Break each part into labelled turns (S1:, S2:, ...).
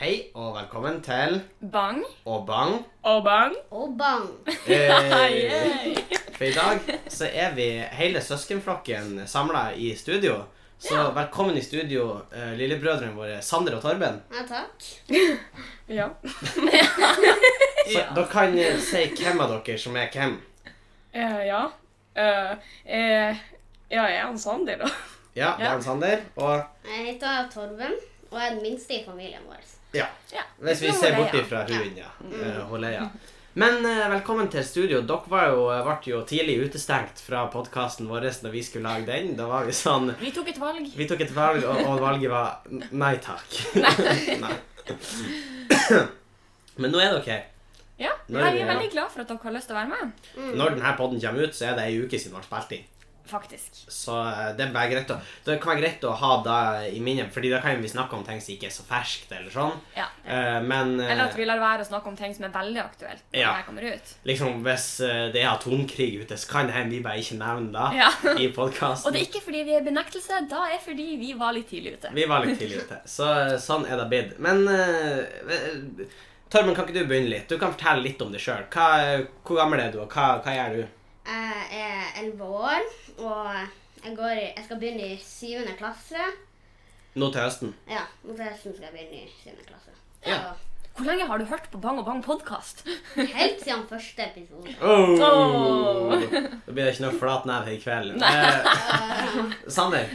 S1: Hei og velkommen til
S2: Bang.
S1: Åbang.
S2: Og bang.
S3: Og bang!
S1: Eh, for i dag så er vi hele søskenflokken samla i studio. Så velkommen i studio, eh, lillebrødrene våre Sander og Torben.
S3: Ja, takk.
S2: Ja.
S1: Så Dere kan eh, si hvem av dere som er hvem.
S2: Eh, ja. Eh, eh, ja, jeg er han Sander, da.
S1: Ja, det er han Sander. Og
S3: Jeg heter Torben og er den minste i familien vår.
S1: ja,
S2: Ja.
S1: hvis vi ser bort ifra hun, ja. eh, hun Leia. Men eh, velkommen til studio. Dere var jo, ble jo tidlig utestengt fra podkasten vår når vi skulle lage den. Da var vi sånn
S4: Vi tok et valg.
S1: Vi tok et valg, og, og valget var n- nei takk. nei. Men nå er dere her.
S4: Ja,
S1: Nå er vi-
S4: Jeg er veldig glad for at dere har lyst til å være med.
S1: Når denne podden kommer ut, så er det ei uke siden den ble spilt inn.
S4: Faktisk.
S1: Så eh, det, er bare greit å, det kan være greit å ha det i minnet, Fordi da kan vi snakke om ting som ikke er så ferskt. eller sånn.
S4: Ja.
S1: Eh, Men eh,
S4: Eller at vi lar være å snakke om ting som er veldig aktuelt når
S1: Ja.
S4: det her kommer ut.
S1: liksom, hvis eh, det er atomkrig ute, så kan det hende vi bare ikke nevner det
S4: Ja.
S1: i podkasten.
S4: Og det er ikke fordi vi er i benektelse, da er fordi vi var litt tidlig ute.
S1: Vi var litt tidlig ute, så sånn er det blitt. Men uh, Torben, kan ikke du begynne litt? Du kan fortelle litt om deg sjøl. Hvor gammel er du, og hva, hva gjør du?
S3: Jeg er 11 år, og jeg, går i, jeg skal begynne i 7. klasse.
S1: Nå til høsten.
S3: Ja, mot høsten skal jeg begynne i 7. klasse.
S1: Ja.
S3: Så,
S4: Hvor lenge har du hørt på Bang og Bang podkast?
S3: helt siden første episode.
S1: Oh.
S4: Åh.
S1: Da blir det ikke noe flat neve i kveld. Eh, Sander,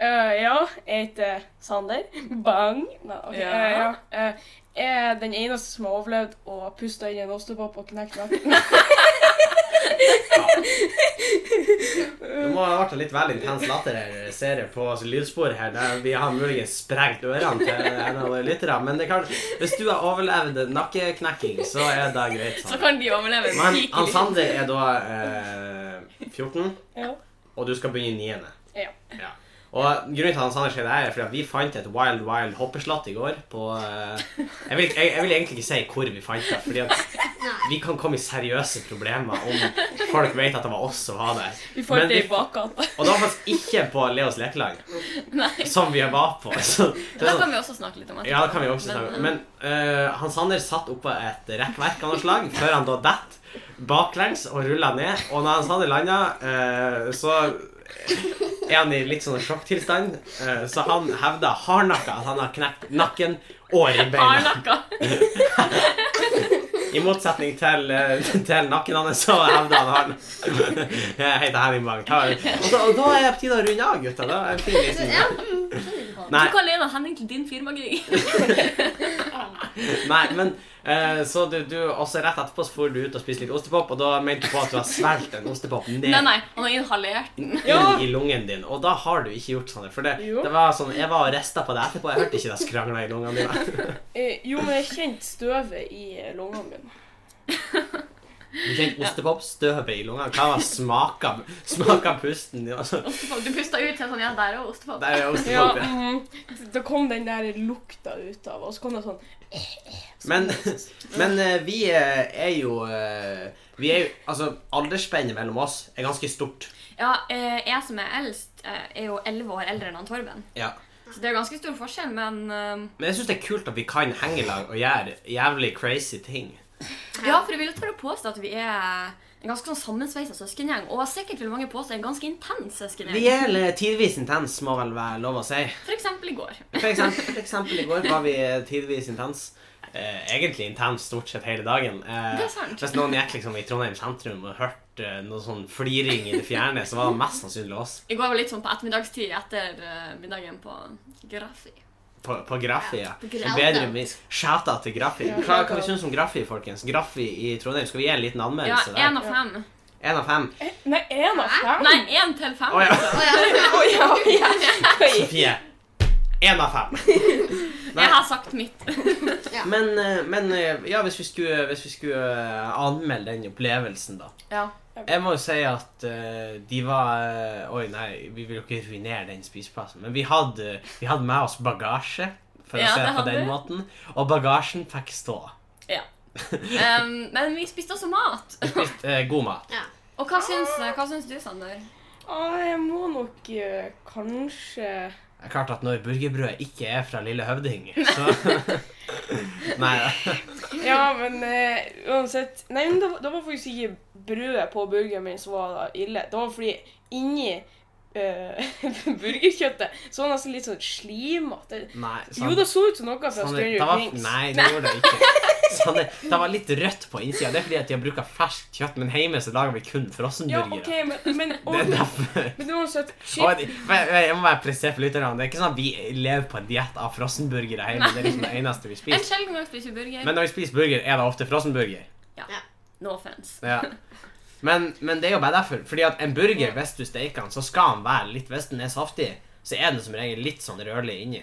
S2: Eh, ja, jeg heter Sander. Bang. Nei, ok,
S4: Ja.
S2: eh, ja. Eh, jeg er den eneste som har overlevd og pusta inn en ostepop og knekt nakken.
S1: nå må det ha vært en litt vel intens latter her, ser jeg på lydsporet her. Der vi har muligens sprengt ørene til en av våre lyttere. Men det kan, hvis du har overlevd nakkeknekking, så er det greit.
S4: Så
S1: Sander.
S4: kan de overleve.
S1: Men
S4: skikkelig.
S1: han Sander er da eh, 14.
S2: Ja.
S1: Og du skal begynne i niende.
S2: Ja.
S1: Ja. Og grunnen til at han Sander sier det her, er fordi at vi fant et Wild Wild hoppeslott i går på eh, jeg, vil, jeg, jeg vil egentlig ikke si hvor vi fant det, fordi at vi kan komme i seriøse problemer om folk vet at det var oss som var der.
S2: Vi får
S1: Men
S2: det
S1: vi-
S2: i bakgata.
S1: Og det var faktisk ikke på Leos lekelag,
S4: Nei.
S1: som vi var på. Så, det er
S4: Da
S1: sånn,
S4: kan vi også snakke litt om
S1: ja, det kan vi også
S4: Men-
S1: snakke om. Men eh, han Sander satt oppå et rekkverk av noe slag før han da datt baklengs og rulla ned. Og når han Sander landa, eh, så er han i litt sånn sjokktilstand. Eh, så han hevda hardnakka at han har knekt nakken og ribbeina.
S4: Hardnakka.
S1: I motsetning til, eh, til nakken hans, så hevda han hardnakka. Jeg heter Henning Bang. Ta- Og, da- og da er det på tide å runde av, gutta. Da er det fin
S3: Så,
S1: liten-
S3: ja, mm, så lurer jeg på.
S1: Nei.
S4: Du kan lene Henning til din firmagig.
S1: Nei, men eh, Så du, du også rett etterpå så for du ut og spiste litt ostepop, og da mente du på at du har svelget en ostepop ned
S4: Nei, nei. Han har inhalert den.
S2: Ja.
S1: inn i lungen din, og da har du ikke gjort sånn. For det,
S2: Jo.
S1: det var sånn, jeg var og rista på det etterpå, jeg hørte ikke det skrangla i lungene dine.
S2: Eh, jo, men jeg kjente støvet i lungene mine.
S1: Du kjente ostepopstøvet i lungene. Hva var smaka, smaka pusten din? Altså,
S4: Ostepop. Du pusta ut til sånn Ja, der er ostepop.
S1: det er jo
S2: Ja,
S1: ostepop, ja.
S2: mm, Da kom den der lukta ut av, og så kom det sånn
S1: Men, men eh, vi eh, er jo eh, Vi er jo Altså, aldersspennet mellom oss er ganske stort.
S4: Ja, eh, jeg som er eldst, eh, er jo 11 år eldre enn han Torben.
S1: Ja.
S4: Så det er jo ganske stor forskjell, men eh,
S1: Men jeg syns det er kult at vi kan henge i lag og gjøre jævlig crazy ting.
S4: Ja, for jeg vil jo tørre å påstå at vi er en ganske sånn sammensveisa søskengjeng. Og sikkert vil mange påstå en ganske intens
S1: Vi
S4: søskengjeng.
S1: er eller tidvis intens, må vel være lov å si.
S4: For eksempel i går.
S1: For eksempel, for eksempel i går var vi tidvis intens. Eh, egentlig intens stort sett hele dagen. Eh,
S4: Det er sant.
S1: Hvis noen gikk liksom i Trondheim sentrum og hørte eh, noe sånn fliring i det fjerne, så var det mest sannsynlig oss.
S4: I går var litt sånn på ettermiddagstid etter eh, middagen på Graffi.
S1: På, på Graffi, ja.
S4: På
S1: En
S4: Graffi.
S1: bedre vis. Shouta til Graffi.
S2: Ja,
S1: Hva, hva
S2: shoutout.
S1: vi syns om Graffi, folkens? Graffi i Trondheim. Skal vi gi en liten
S4: Ja,
S1: anmeldelse der?
S4: én av fem.
S1: Én av fem.
S2: "Eh, Nei, én av fem?
S4: Nei, én til fem. altså.
S1: Å, ja.
S3: Å ja.
S2: Å, ja, ja. Oi.
S1: Sofie. Én av fem. Nei.
S4: Jeg har sagt mitt.
S1: Men, eh, men eh, ja, hvis vi skulle, hvis vi skulle eh, anmelde den opplevelsen, da.
S4: Ja.
S1: Jeg må jo si at eh, de var eh, Oi, nei, vi vil jo ikke ruinere den spiseplassen. Men vi hadde, vi hadde med oss bagasje, for
S4: Ja,
S1: å si det
S4: det
S1: på den
S4: hadde vi.
S1: måten. Og bagasjen fikk stå.
S4: Em, Um, men vi spiste også mat.
S1: Vi spiste eh, god mat.
S3: ja.
S4: Og hva syns, eh, hva syns du, Sander?
S2: Ah, jeg må nok eh, kanskje
S1: Det er klart at når burgerbrødet ikke er fra Lille Høvding, så Nei,
S2: Ja, men eh, uansett Nei, men det, var- det var faktisk ikke brødet på burgeren min som var da ille. Det var fordi inni eh, burgerkjøttet så var det nesten litt sånn slimete.
S1: nei
S2: Jo, det så ut som noe fra
S1: Sander,
S2: Stranger
S1: det var,
S2: Things.
S1: nei, det gjorde det ikke. Sander, det var litt rødt på innsida. Det er fordi at de har brukt ferskt kjøtt, men hjemme så lager vi kun
S2: Ja,
S1: frossenburgere.
S2: OK, men, men,
S1: Det er
S2: og,
S1: derfor.
S2: men uansett
S1: Og
S2: shit,
S1: de- men- men jeg må bare presisere for lytterne. Det er ikke sånn at vi lever på en diett av frossenburgere hjemme. Det er liksom det eneste vi
S4: En
S1: spiser.
S4: sjelden gang spiser vi burger.
S1: Men når vi spiser burger, er det ofte frossenburger.
S4: no offense.
S1: Ja. Men, men det er jo bare derfor. Fordi at en burger, hvis du steker den, så skal den være litt Hvis den er saftig, så er den som regel litt sånn rødlig inni.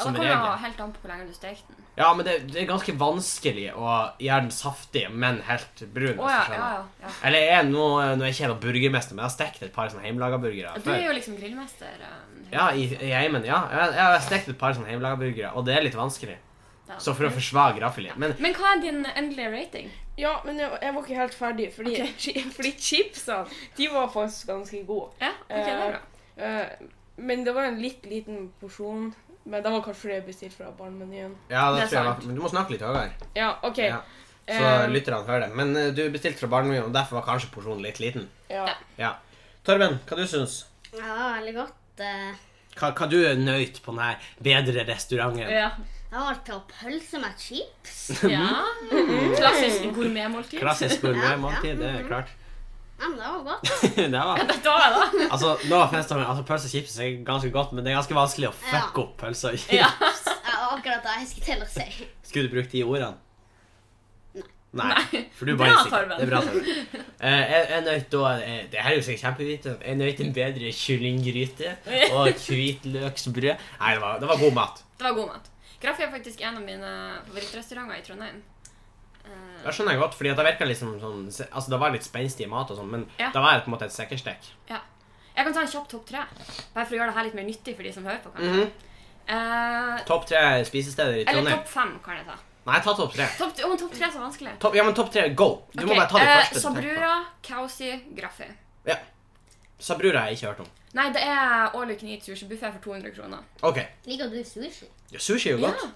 S4: Ja, da
S1: Som
S4: kommer det
S1: regel.
S4: helt an på hvor lenge du stekte den.
S1: Ja, men det, det er ganske vanskelig å gjøre den saftig, men helt brun. hvis du
S4: Å ja,
S1: skjønner.
S4: ja, ja, ja.
S1: Eller jeg, nå, nå er jeg ikke jeg noen burgermester, men jeg har stekt et par sånne hjemmelaga burgere.
S4: Du er
S1: før.
S4: jo liksom grillmester. Um,
S1: Ja, i, i heimen, ja. Jeg, jeg har stekt et par sånne hjemmelaga burgere, og det er litt vanskelig.
S4: da.
S1: Så for å forsvare graffili. Men
S4: Men hva er din endelige rating?
S2: Ja, men jeg, jeg var ikke helt ferdig, fordi, chi- fordi chipsene de var faktisk ganske gode.
S4: Ja, ok, det er bra.
S2: Eh, men det var en litt liten porsjon. Men det var kanskje fordi jeg bestilte fra barnemenyen.
S1: ja, det,
S4: Det er
S1: tror jeg
S4: sant.
S1: var, men du må snakke litt høyere,
S2: Ja, OK.
S1: Ja. så
S2: Eh,
S1: lytterne hører det. Men eh, du bestilte fra barnehagen, og derfor var kanskje porsjonen litt liten.
S2: ja.
S1: Ja. Torben, hva du syns?
S3: Ja, det var veldig godt. eh.
S1: Hva, hva du nøyt på denne bedre restauranten?
S4: eh, Ja.
S3: Jeg valgte å pølse med chips.
S4: ja. Mm-hmm. Klassisk gourmetmåltid.
S1: Klassisk
S3: Ja, ja.
S1: gourmetmåltid, det er klart.
S3: Men det var godt.
S1: det var
S4: Dette var jeg, da.
S1: Altså, nå finnes det, altså, Pølse og chips er ganske godt, men det er ganske vanskelig å fucke
S3: Ja.
S1: opp pølse og chips.
S4: Ja.
S3: Det var akkurat det jeg skulle til å si.
S1: Skulle du brukt de ordene? Nei.
S4: Nei.
S1: For du
S4: Bra,
S1: bare sier-
S4: Torben.
S1: Det er bra, Torben. Eh, jeg, jeg nøt da eh, Det her er jo sikkert kjempevite. Jeg nøt en bedre kyllinggryte og hvitløksbrød. Nei, det var, det var god mat.
S4: Det var god mat. Graff er faktisk en av mine favorittrestauranter i Trondheim. Eh,
S1: Det skjønner jeg godt, fordi at det virka liksom sånn Altså, det var litt spenstig mat og sånn, men
S4: Ja.
S1: det var på en måte et sekkerstek.
S4: ja. Jeg kan ta en kjapp topp tre, bare for å gjøre det her litt mer nyttig for de som hører på. kanskje.
S1: Mhm.
S4: Eh,
S1: Topp tre spisesteder i
S4: eller
S1: Trondheim.
S4: topp fem, kan jeg ta.
S1: Nei, ta topp tre.
S4: Topp, oh, topp tre er så vanskelig.
S1: Topp- ja, men topp tre, go! Du må
S4: Ok,
S1: bare ta det
S4: eh,
S1: første. du tenker på.
S4: Sabrura, Kausi, Graffi.
S1: Ja. Sabrura har jeg ikke hørt om.
S4: Nei, det er all you can eat sushibuffé for 200 kroner.
S1: OK.
S3: Liker du sushi?
S1: Ja, Sushi er jo
S4: Ja.
S1: godt.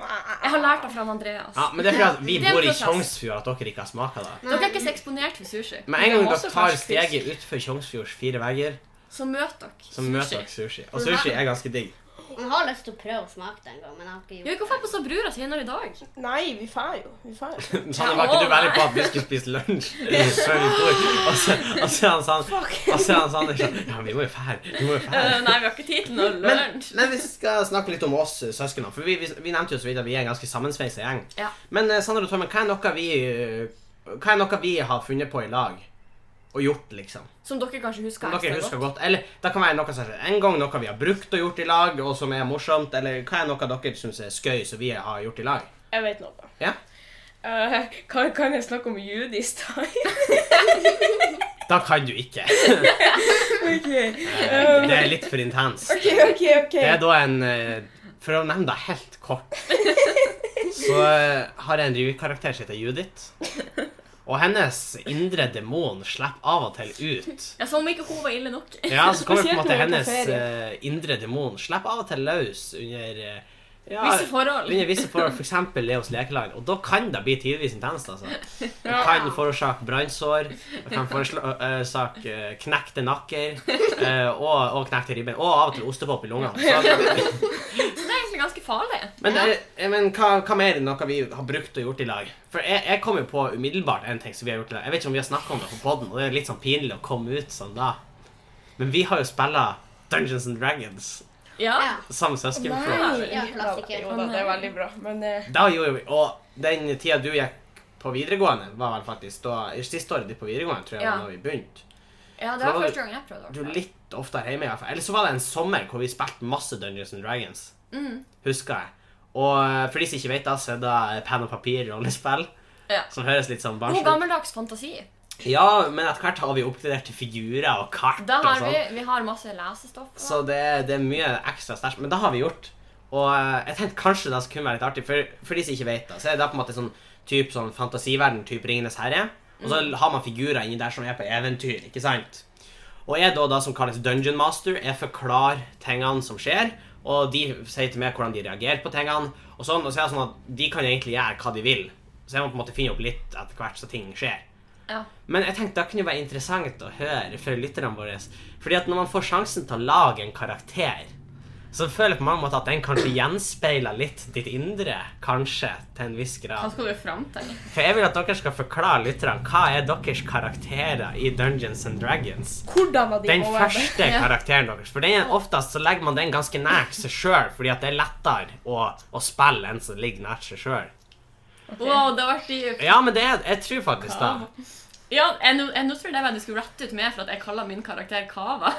S4: Jeg har lært det fra Andreas.
S1: Ja, men det er fordi at vi
S4: Det er en
S1: bor i
S4: prosess.
S1: Tjongsfjord at dere ikke har smaka det.
S4: Dere er ikke så eksponert for sushi.
S1: Med
S2: Det
S1: en
S2: er
S1: gang
S2: masse
S1: dere tar
S2: fersk fisk.
S1: steget utfor Tjongsfjords fire vegger,
S4: Så møt dere
S1: så møter dere sushi. Og
S4: For
S1: sushi
S4: her-
S1: er ganske digg.
S3: Jeg har lyst til å prøve å smake det en gang, men jeg har ikke
S4: Jo, vi
S3: gjort
S4: kan få på Sabrura senere i dag.
S2: Nei, vi får jo. Vi får jo.
S1: Sanne, Sånn, var ikke du veldig på at vi skulle spise lunsj før vi dro? Og så og så er han sånn Og så er han sånn sånn, Ja, vi må jo fære. Vi må jo fære.
S4: Eh, nei, vi har ikke tid til noe
S1: Men,
S4: lunsj.
S1: men vi skal snakke litt om oss eh, søskene. For vi, vi, vi nevnte jo så vidt at vi er en ganske sammensveisa gjeng.
S4: Ja.
S1: Men eh, Sander og Torben, hva er noe vi eh, Hva er noe vi har funnet på i lag? Og gjort, liksom?
S4: Som dere kanskje husker
S1: Som dere
S4: ekstra
S1: husker
S4: godt.
S1: godt. Eller det kan være noe som en gang noe vi har brukt og gjort i lag, og som er morsomt, eller hva er noe dere syns er skøy som vi har gjort i lag?
S2: Jeg vet noe.
S1: Ja?
S2: Eh, kan, kan jeg snakke om Judy Stein?
S1: Da kan du ikke. Eh,
S2: OK.
S1: Det er litt for intenst.
S2: OK, OK. ok.
S1: Det er da en eh, For å nevne det helt kort, så eh, har jeg en revykarakter som heter Judith. Og hennes indre demon slipper av og til ut.
S4: Ja, Som om ikke hun var ille nok.
S1: Ja, så kommer på en
S2: Spesielt
S1: måte
S2: når vi er på
S1: hennes eh, indre demon slipper av og til løs under eh, ja,
S4: Visse forhold.
S1: Under visse forhold, for eksempel Leos lekeland. Og da kan det bli tidvis intenst, altså. Det kan forårsake brannsår, det kan forårsake eh, knekte nakker eh, og, og knekte ribben. Og av og til ostepop i lungene. Så-
S4: Så det er egentlig ganske farlig.
S1: Men, eh, men hva, hva mer enn noe vi har brukt og gjort i lag? For jeg, jeg kom jo på umiddelbart en ting som vi har gjort i lag. Jeg vet ikke om vi har snakket om det på podden, og det er litt sånn pinlig å komme ut sånn da. Men vi har jo spillet Dungeons and Dragons
S4: Ja.
S3: Ja.
S1: sammen med søskenflokk.
S2: Nei.
S3: Ja,
S2: da,
S3: klassiker.
S2: jo da, det er veldig bra. Men eh,
S1: Da gjorde vi, og den tida du gikk på videregående, var vel faktisk da, i siste året ditt på videregående, tror jeg
S4: Ja.
S1: var da vi begynte.
S4: ja,
S1: Da var
S4: det var
S1: du-
S4: første gang jeg prøvde. i hvert
S1: Du
S4: fall.
S1: litt oftere hjemme i hvert fall. Eller så var det en sommer hvor vi spilte masse Dungeons and Dragons.
S4: Mm.
S1: Husker jeg. Og eh, for de som ikke vet da, så er det penn og papir rollespill.
S4: Ja.
S1: Som høres litt sånn
S4: God
S1: barnslig ut.
S4: gammeldags fantasi.
S1: Ja, men etter hvert har vi oppgradert til figurer og kart.
S4: Da
S1: og
S4: har vi,
S1: sånn.
S4: vi har masse lesestoff. da.
S1: Så det, det er mye ekstra sterkt. Men det har vi gjort. Og eh, jeg tenkte kanskje det kunne være litt artig. For, for de som ikke vet det, så er det på en måte sånn typ sånn fantasiverden type Ringenes herre. Og så har man figurer inni der som er på eventyr, ikke sant? Og jeg da, da som kalles Dungeon Master, jeg forklarer tingene som skjer, og de sier til meg hvordan de reagerer på tingene. Og sånn, og så er det sånn at de kan egentlig gjøre hva de vil. Så jeg må på en måte finne opp litt etter hvert så ting skjer.
S4: Ja.
S1: Men jeg tenkte det kunne være interessant å høre for lytterne våre. Fordi at når man får sjansen til å lage en karakter, så føler jeg på mange måter at den kanskje gjenspeiler litt ditt indre. Kanskje, til en viss
S4: Hva
S1: grad.
S4: skal du fram til?
S1: For jeg vil at dere skal forklare lytterne hva er deres karakterer i Dungeons and Dragons.
S2: Hvordan var de
S1: Den
S2: å være med?
S1: første
S4: Ja.
S1: karakteren deres. For den er oftest så legger man den ganske nært seg sjøl, fordi at det er lettere å, å spille en som ligger nært seg sjøl.
S4: Wow, det ble dypt.
S1: Ja, men det er, jeg tror faktisk det.
S4: Ja, jeg, nå- jeg, nå tror jeg du skulle rette ut meg for at jeg kaller min karakter Kava.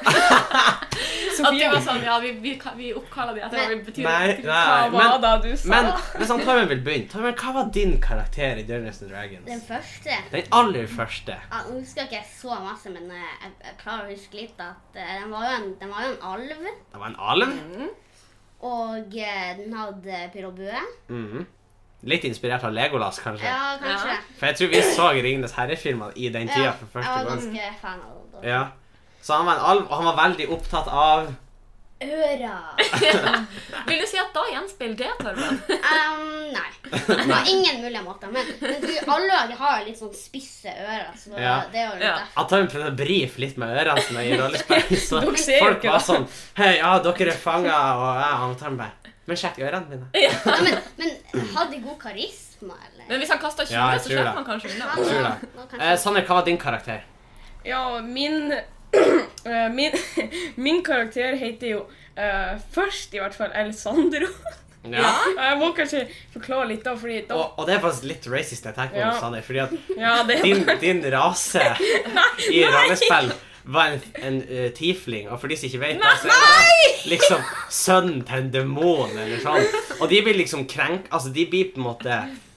S4: At du
S2: Sofie,
S4: var sånn, ja, vi, vi, ka- vi oppkaller det etter hva det betyr.
S1: Nei,
S2: hva
S1: nei,
S2: var
S1: men,
S2: det du sa?
S1: men hvis han Torben vil begynne Torben, hva var din karakter i Dungeons and
S3: Den
S1: Dragons?
S3: første
S1: Den aller første.
S3: Ja, Nå husker jeg ikke så masse, men eh, jeg, jeg klarer å huske litt at eh, den var jo en, den var jo en alv.
S1: Det var en alv.
S3: Og eh, den hadde pyrobue.
S1: Mhm. Litt inspirert av Legolas, kanskje.
S3: Ja, kanskje.
S4: Ja.
S1: For jeg tror vi så Ringenes herre-filmene i den tida
S3: Ja,
S1: for
S3: jeg
S1: første
S3: var
S1: gang.
S3: ganske fan av den. da.
S1: Ja. Så han var en alv, og han var veldig opptatt av
S3: Øra
S4: Vil du si at da gjenspeiler det, Torben?
S3: Em, Um, Nei. På ingen mulig måte. Men, men du, alle har litt sånn spisse ører, så
S1: Ja.
S3: det er jo litt
S4: Ja.
S3: derfor.
S1: At han prøvde å brife litt med ørene sine i rollespill. Så
S2: Dere ser jo
S1: folk
S2: ikke
S1: var
S2: det.
S1: sånn Hei, ja, dere er fanga, og jeg han tar meg. Men sjekk ørene mine.
S3: Ja, men, men hadde de god karisma, eller?
S4: Men hvis han kaster 20,
S1: Ja, jeg
S4: så
S1: tror det.
S4: slipper han kanskje unna.
S1: tror
S3: nå-
S1: det.
S3: nå
S1: Eh,
S3: kanskje-
S1: Sanne, hva var din karakter?
S2: Ja, min, eh, min Min karakter heter jo eh, først i hvert fall El Sandro.
S1: Ja.
S2: Og Jeg må kanskje forklare litt, da, fordi da,
S1: Og, og det er faktisk litt racist, jeg tenker på,
S2: Ja.
S1: Sanne, fordi at
S2: ja, det,
S1: din, din rase i rollespill var en, en eh, tiefling, og for de som ikke vet det, så er det liksom sønnen til en demon eller sånn. Og de blir liksom krenk... Altså, de blir på en måte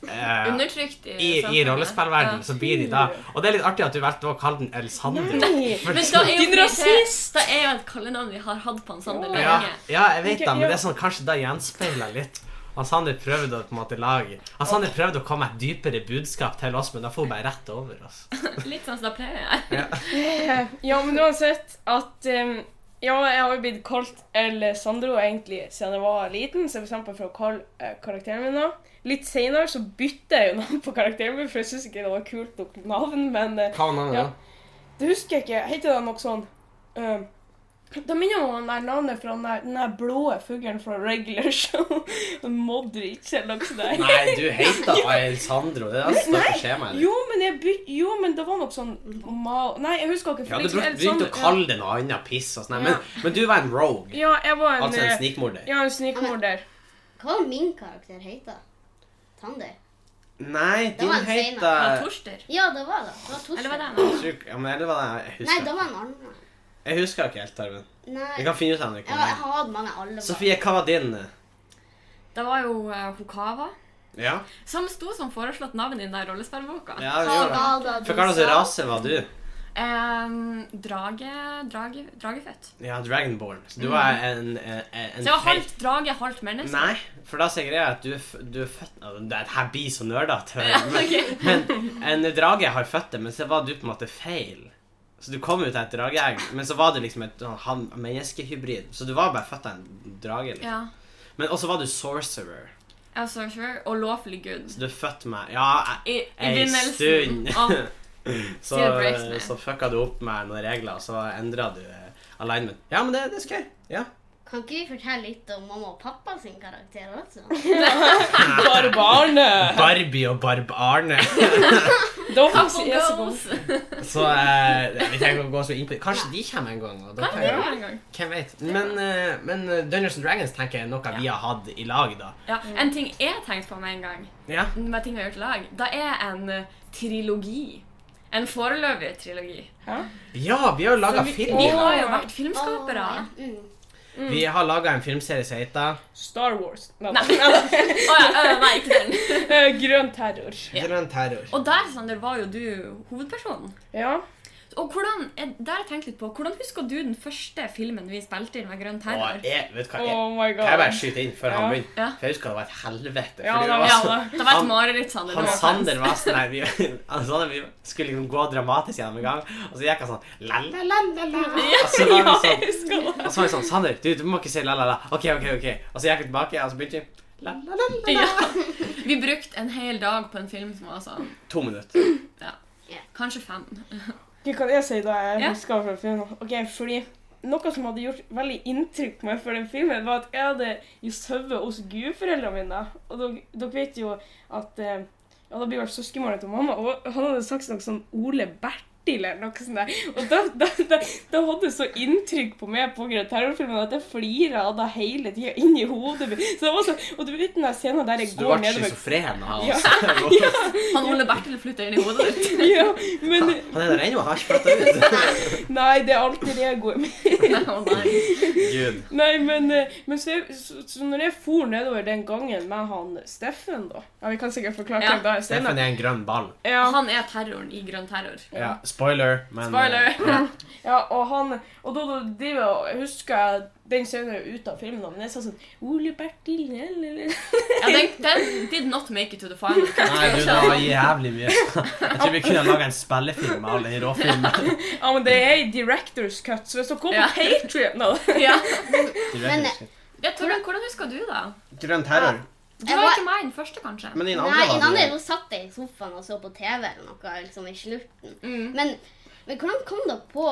S1: eh,
S4: Undertrykt i,
S1: I, i
S4: samfunnet.
S1: rollespillverdenen så blir de da Og det er litt artig at du valgte å kalle den El Sandro.
S2: Nei.
S1: For-
S4: Men da er jo
S2: Din
S4: fordi
S2: rasist!
S4: Det, det er jo et kallenavn vi har hatt på en Sander
S1: ja,
S4: lenge.
S1: ja, jeg vet det, men det er sånn kanskje da gjenspeiler litt. Han Sander prøvde å på en måte lage Han Sander prøvde å komme med et dypere budskap til oss, men da får hun bare rett over oss.
S4: Litt sånn som det pleier jeg.
S2: Eh, Ja, men uansett at eh, Ja, jeg har jo blitt kalt El Sandro egentlig siden jeg var liten, så for eksempel for å kalle eh, karakteren min da. Litt senere så bytta jeg jo navn på karakteren min, for jeg syntes ikke det var kult nok navn, men eh,
S1: Hva var navnet?
S2: Ja. det husker jeg ikke. Heter det noe sånn eh, Da minner jeg meg om det der navnet fra den der, den der blå fuglen fra regular show. Modric eller noe sånt. der.
S1: Nei, du heter El Sandro. Det er altså det som står på skjemaet.
S2: Jo, men jeg by... Jo, men det var noe sånn mal... Nei, jeg husker ikke.
S1: Ja, du
S2: for liksom
S1: brukte
S2: El
S1: begynte
S2: Sandro-
S1: å kalle det noe annet piss og sånn, men, men du var en rogue.
S2: Ja, jeg var en,
S1: Altså en
S2: eh,
S1: snikmorder.
S2: Ja, en snikmorder.
S3: Hva var min karakter heter? Tander?
S1: Nei,
S3: Det var
S1: din
S3: en Seinar.
S4: Var det
S1: heter
S4: Torster?
S3: Ja, det var det. Det var Torstein.
S4: Eller var det en annen?
S1: Sjuk- ja, men Eller hva det jeg
S3: Nei, det
S1: husker?
S3: var en annen.
S1: Jeg husker ikke helt, Tarmen.
S3: Nei.
S1: Vi kan finne ut av det.
S3: Jeg har jeg har hatt mange alver.
S1: Sofie, hva var din? eh,
S4: Det var jo uh, Hokava.
S1: Ja,
S4: Som sto som foreslått navn i den der rollespillboka.
S1: ja vi
S3: Hva
S1: gjorde det.
S3: var det du
S1: For hva
S3: sa?
S1: slags rase var du?
S4: Ehm, drage, drage, dragefødt.
S1: Ja, Dragonborn. Så du var en, en, en
S4: Så jeg var
S1: feit-
S4: halvt drage, halvt menneske.
S1: Nei, for da sier jeg at du, er f- du er født av det Her blir så nerdete.
S4: Ja,
S1: Men,
S4: ok.
S1: men en drage har født det, men så var du på en måte feil. Så du kom ut av et drageegg, men så var du liksom et sånn han- menneskehybrid. Så du var bare født av en drage. Liksom.
S4: Ja.
S1: Men også var du sorcerer.
S4: Jeg var sorcerer og lawfully good.
S1: Så du er født med Ja,
S4: I, i
S1: ei
S4: begynnelsen
S1: stund.
S4: av
S1: så,
S4: Still breaks me.
S1: så fucka du opp med noen regler, og så endra du eh, alignment. Ja, men det, det skal jeg. Ja.
S3: Kan ikke vi fortelle litt om mamma og pappa sin karakter også?
S2: Bare barnet!
S1: Barbie og Barb-Arne.
S2: Da får
S4: Couple
S2: vi se så
S4: Girls.
S1: Så eh, vi trenger ikke å gå så inn på det. Kanskje de kommer en gang. Og da
S4: Kan
S1: kan
S4: det
S1: jeg,
S4: være en gang?
S1: hvem vet. Men, eh, men eh, Dungeons and Dragons tenker jeg er noe vi har hatt i lag, da.
S4: Ja, en ting jeg tenkte på med en gang,
S1: Ja.
S4: med ting vi har gjort i lag, det er en eh, trilogi. En foreløpig trilogi.
S1: ja, vi har jo laga
S2: Så vi-
S1: film.
S4: Vi
S2: Åh.
S4: har jo vært filmskapere.
S3: Åh, ja. Mm.
S1: Vi har laga en filmserie som heter
S2: Star Wars. Nei.
S4: Nei. Å ja, øh, nei, ikke den.
S2: Eh, Grønn terror.
S4: Ja.
S1: Grønn terror.
S4: Og der, Sander, var jo du hovedpersonen.
S2: Ja.
S4: Og hvordan, eh, der har jeg tenkt litt på, hvordan husker du den første filmen vi spilte inn med Grønn terror?
S1: Og jeg, vet du hva, jeg,
S2: Oh my god.
S1: kan jeg bare skyte inn før han
S2: Ja.
S1: begynner?
S4: Ja.
S1: For jeg husker det var et helvete. fordi
S2: Ja, det
S1: det
S2: var-
S1: var
S4: Ja,
S1: så-
S4: det var et
S1: altså, Han-
S4: mareritt, Sander.
S1: Han
S4: det var
S1: Sander var sånn her, vi, han Sander, vi skulle liksom gå dramatisk gjennom en gang, og så gikk han sånn la-la-la-la-la. Og så var
S2: Ja,
S1: han sånn,
S2: jeg husker det.
S1: og så var jeg sånn Sander, du, du må ikke si la-la-la. OK, OK, OK. Og så gikk vi tilbake, og så begynte vi la-la-la-la.
S4: Ja. Vi brukte en hel dag på en film som var sånn
S1: To minutter.
S4: Kanskje fem.
S2: Hva kan jeg si da jeg
S4: Ja.
S2: husker fra filmen? Ok, fordi noe som hadde gjort veldig inntrykk på meg for den filmen, var at jeg hadde jo sovet hos gudforeldrene mine. Og dere, dere vet jo at eh, ja, da blir vel søskenbarnet til mamma, og han hadde sagt noe sånn Ole Bertil eller noe sånt der. Og da, da, da, da hadde det så inntrykk på meg på grunn av terrorfilmen at jeg flira av det hele tida inn i hodet mitt. Så det var sånn, Og du vet den der scenen der jeg
S1: Så du
S2: går
S1: ble
S2: nedover
S1: schizofren av
S2: Ja.
S1: oss.
S4: Han Ole Bertil flytta inn i hodet ditt.
S2: ja, men
S1: Han er der ennå, han har ikke flytta ut.
S2: Nei, det er alltid det jeg går med.
S4: Å nei.
S1: Gud.
S2: Nei, men, eh, men så, jeg- så, så når jeg for nedover den gangen med han Steffen, da Ja, vi kan sikkert forklare
S4: Ja.
S2: hvem det er
S1: Steffen
S2: senere.
S1: er en grønn ball.
S2: Ja,
S4: Han er terroren i Grønn terror.
S1: Ja, spoiler, men
S4: Spoiler.
S1: eh, ja.
S2: ja, og han Og da, da driver jeg og jeg husker jeg den senere ut av filmen, da, men jeg sa sånn Ole Bertil eller
S4: Ja, den, den did not make it to the final.
S1: Nei, du, det var jævlig mye. Jeg tror vi kunne laga en spillefilm med all den råfilmen.
S2: Ja, men det er i Directors Cut, så hvis dere går på
S4: Ja.
S2: Patreon nå
S4: Ja.
S3: Men-
S4: Ja, Torben, hvordan husker du da?
S1: Grønn terror.
S4: Du
S3: Jeg
S4: var
S3: var-
S4: ikke meg i den første, kanskje?
S1: Men din
S3: Nei, i den
S1: andre var
S3: andre
S1: det
S3: så satt jeg i sofaen og så på TV eller noe liksom i slutten.
S4: Mm.
S3: Men, men hvordan kom dere på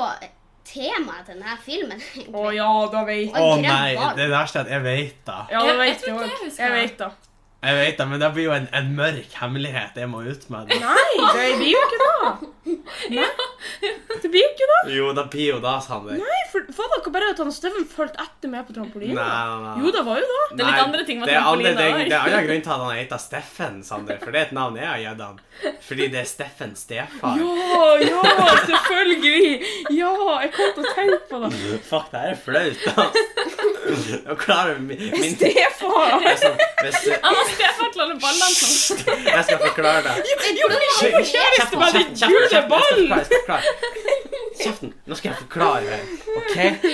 S3: temaet til denne filmen? egentlig?
S2: Å ja, da
S3: Oi.
S2: veit jeg.
S1: Å
S3: grønn
S1: nei,
S3: ball.
S1: det verste er at jeg vet det.
S2: Ja, da
S4: Jeg-
S2: vet
S4: jeg tror ikke jeg
S2: også.
S4: husker
S2: Jeg
S4: det.
S2: vet da.
S1: Jeg vet det, Men det blir jo en, en mørk hemmelighet jeg må ut med. det.
S2: Nei, det blir jo ikke det. Nei. Det blir ikke det.
S1: Jo, det blir jo da, Sander. Nei,
S2: Nei, for, for dere bare at han Steffen fulgte etter meg på trampolina.
S1: nei, nei.
S2: Jo, det var jo det.
S4: Det er litt andre ting med
S1: det er andre
S4: trampolina
S1: ting-
S4: også.
S1: Det er annen grunn til at han heter Steffen, Sander. For det er et navn jeg har gitt han. Fordi det er Steffen stefar.
S2: Ja, ja, selvfølgelig! Ja, jeg kom til å tenke på det.
S1: Fuck, det her er flaut, ass. Nå klarer vi min, min
S2: Stefar!
S1: jeg skal- hvis, eh,
S4: Han var stefar til alle ballene sånn. som
S1: Jeg skal forklare det.
S2: Kjæresten kjæresten
S1: Kjeften,
S2: med den
S1: kjeften,
S2: gule
S1: kjeften,
S2: ballen!
S1: jeg skal forklare, jeg skal forklare. Kjeften! Nå skal jeg forklare. OK?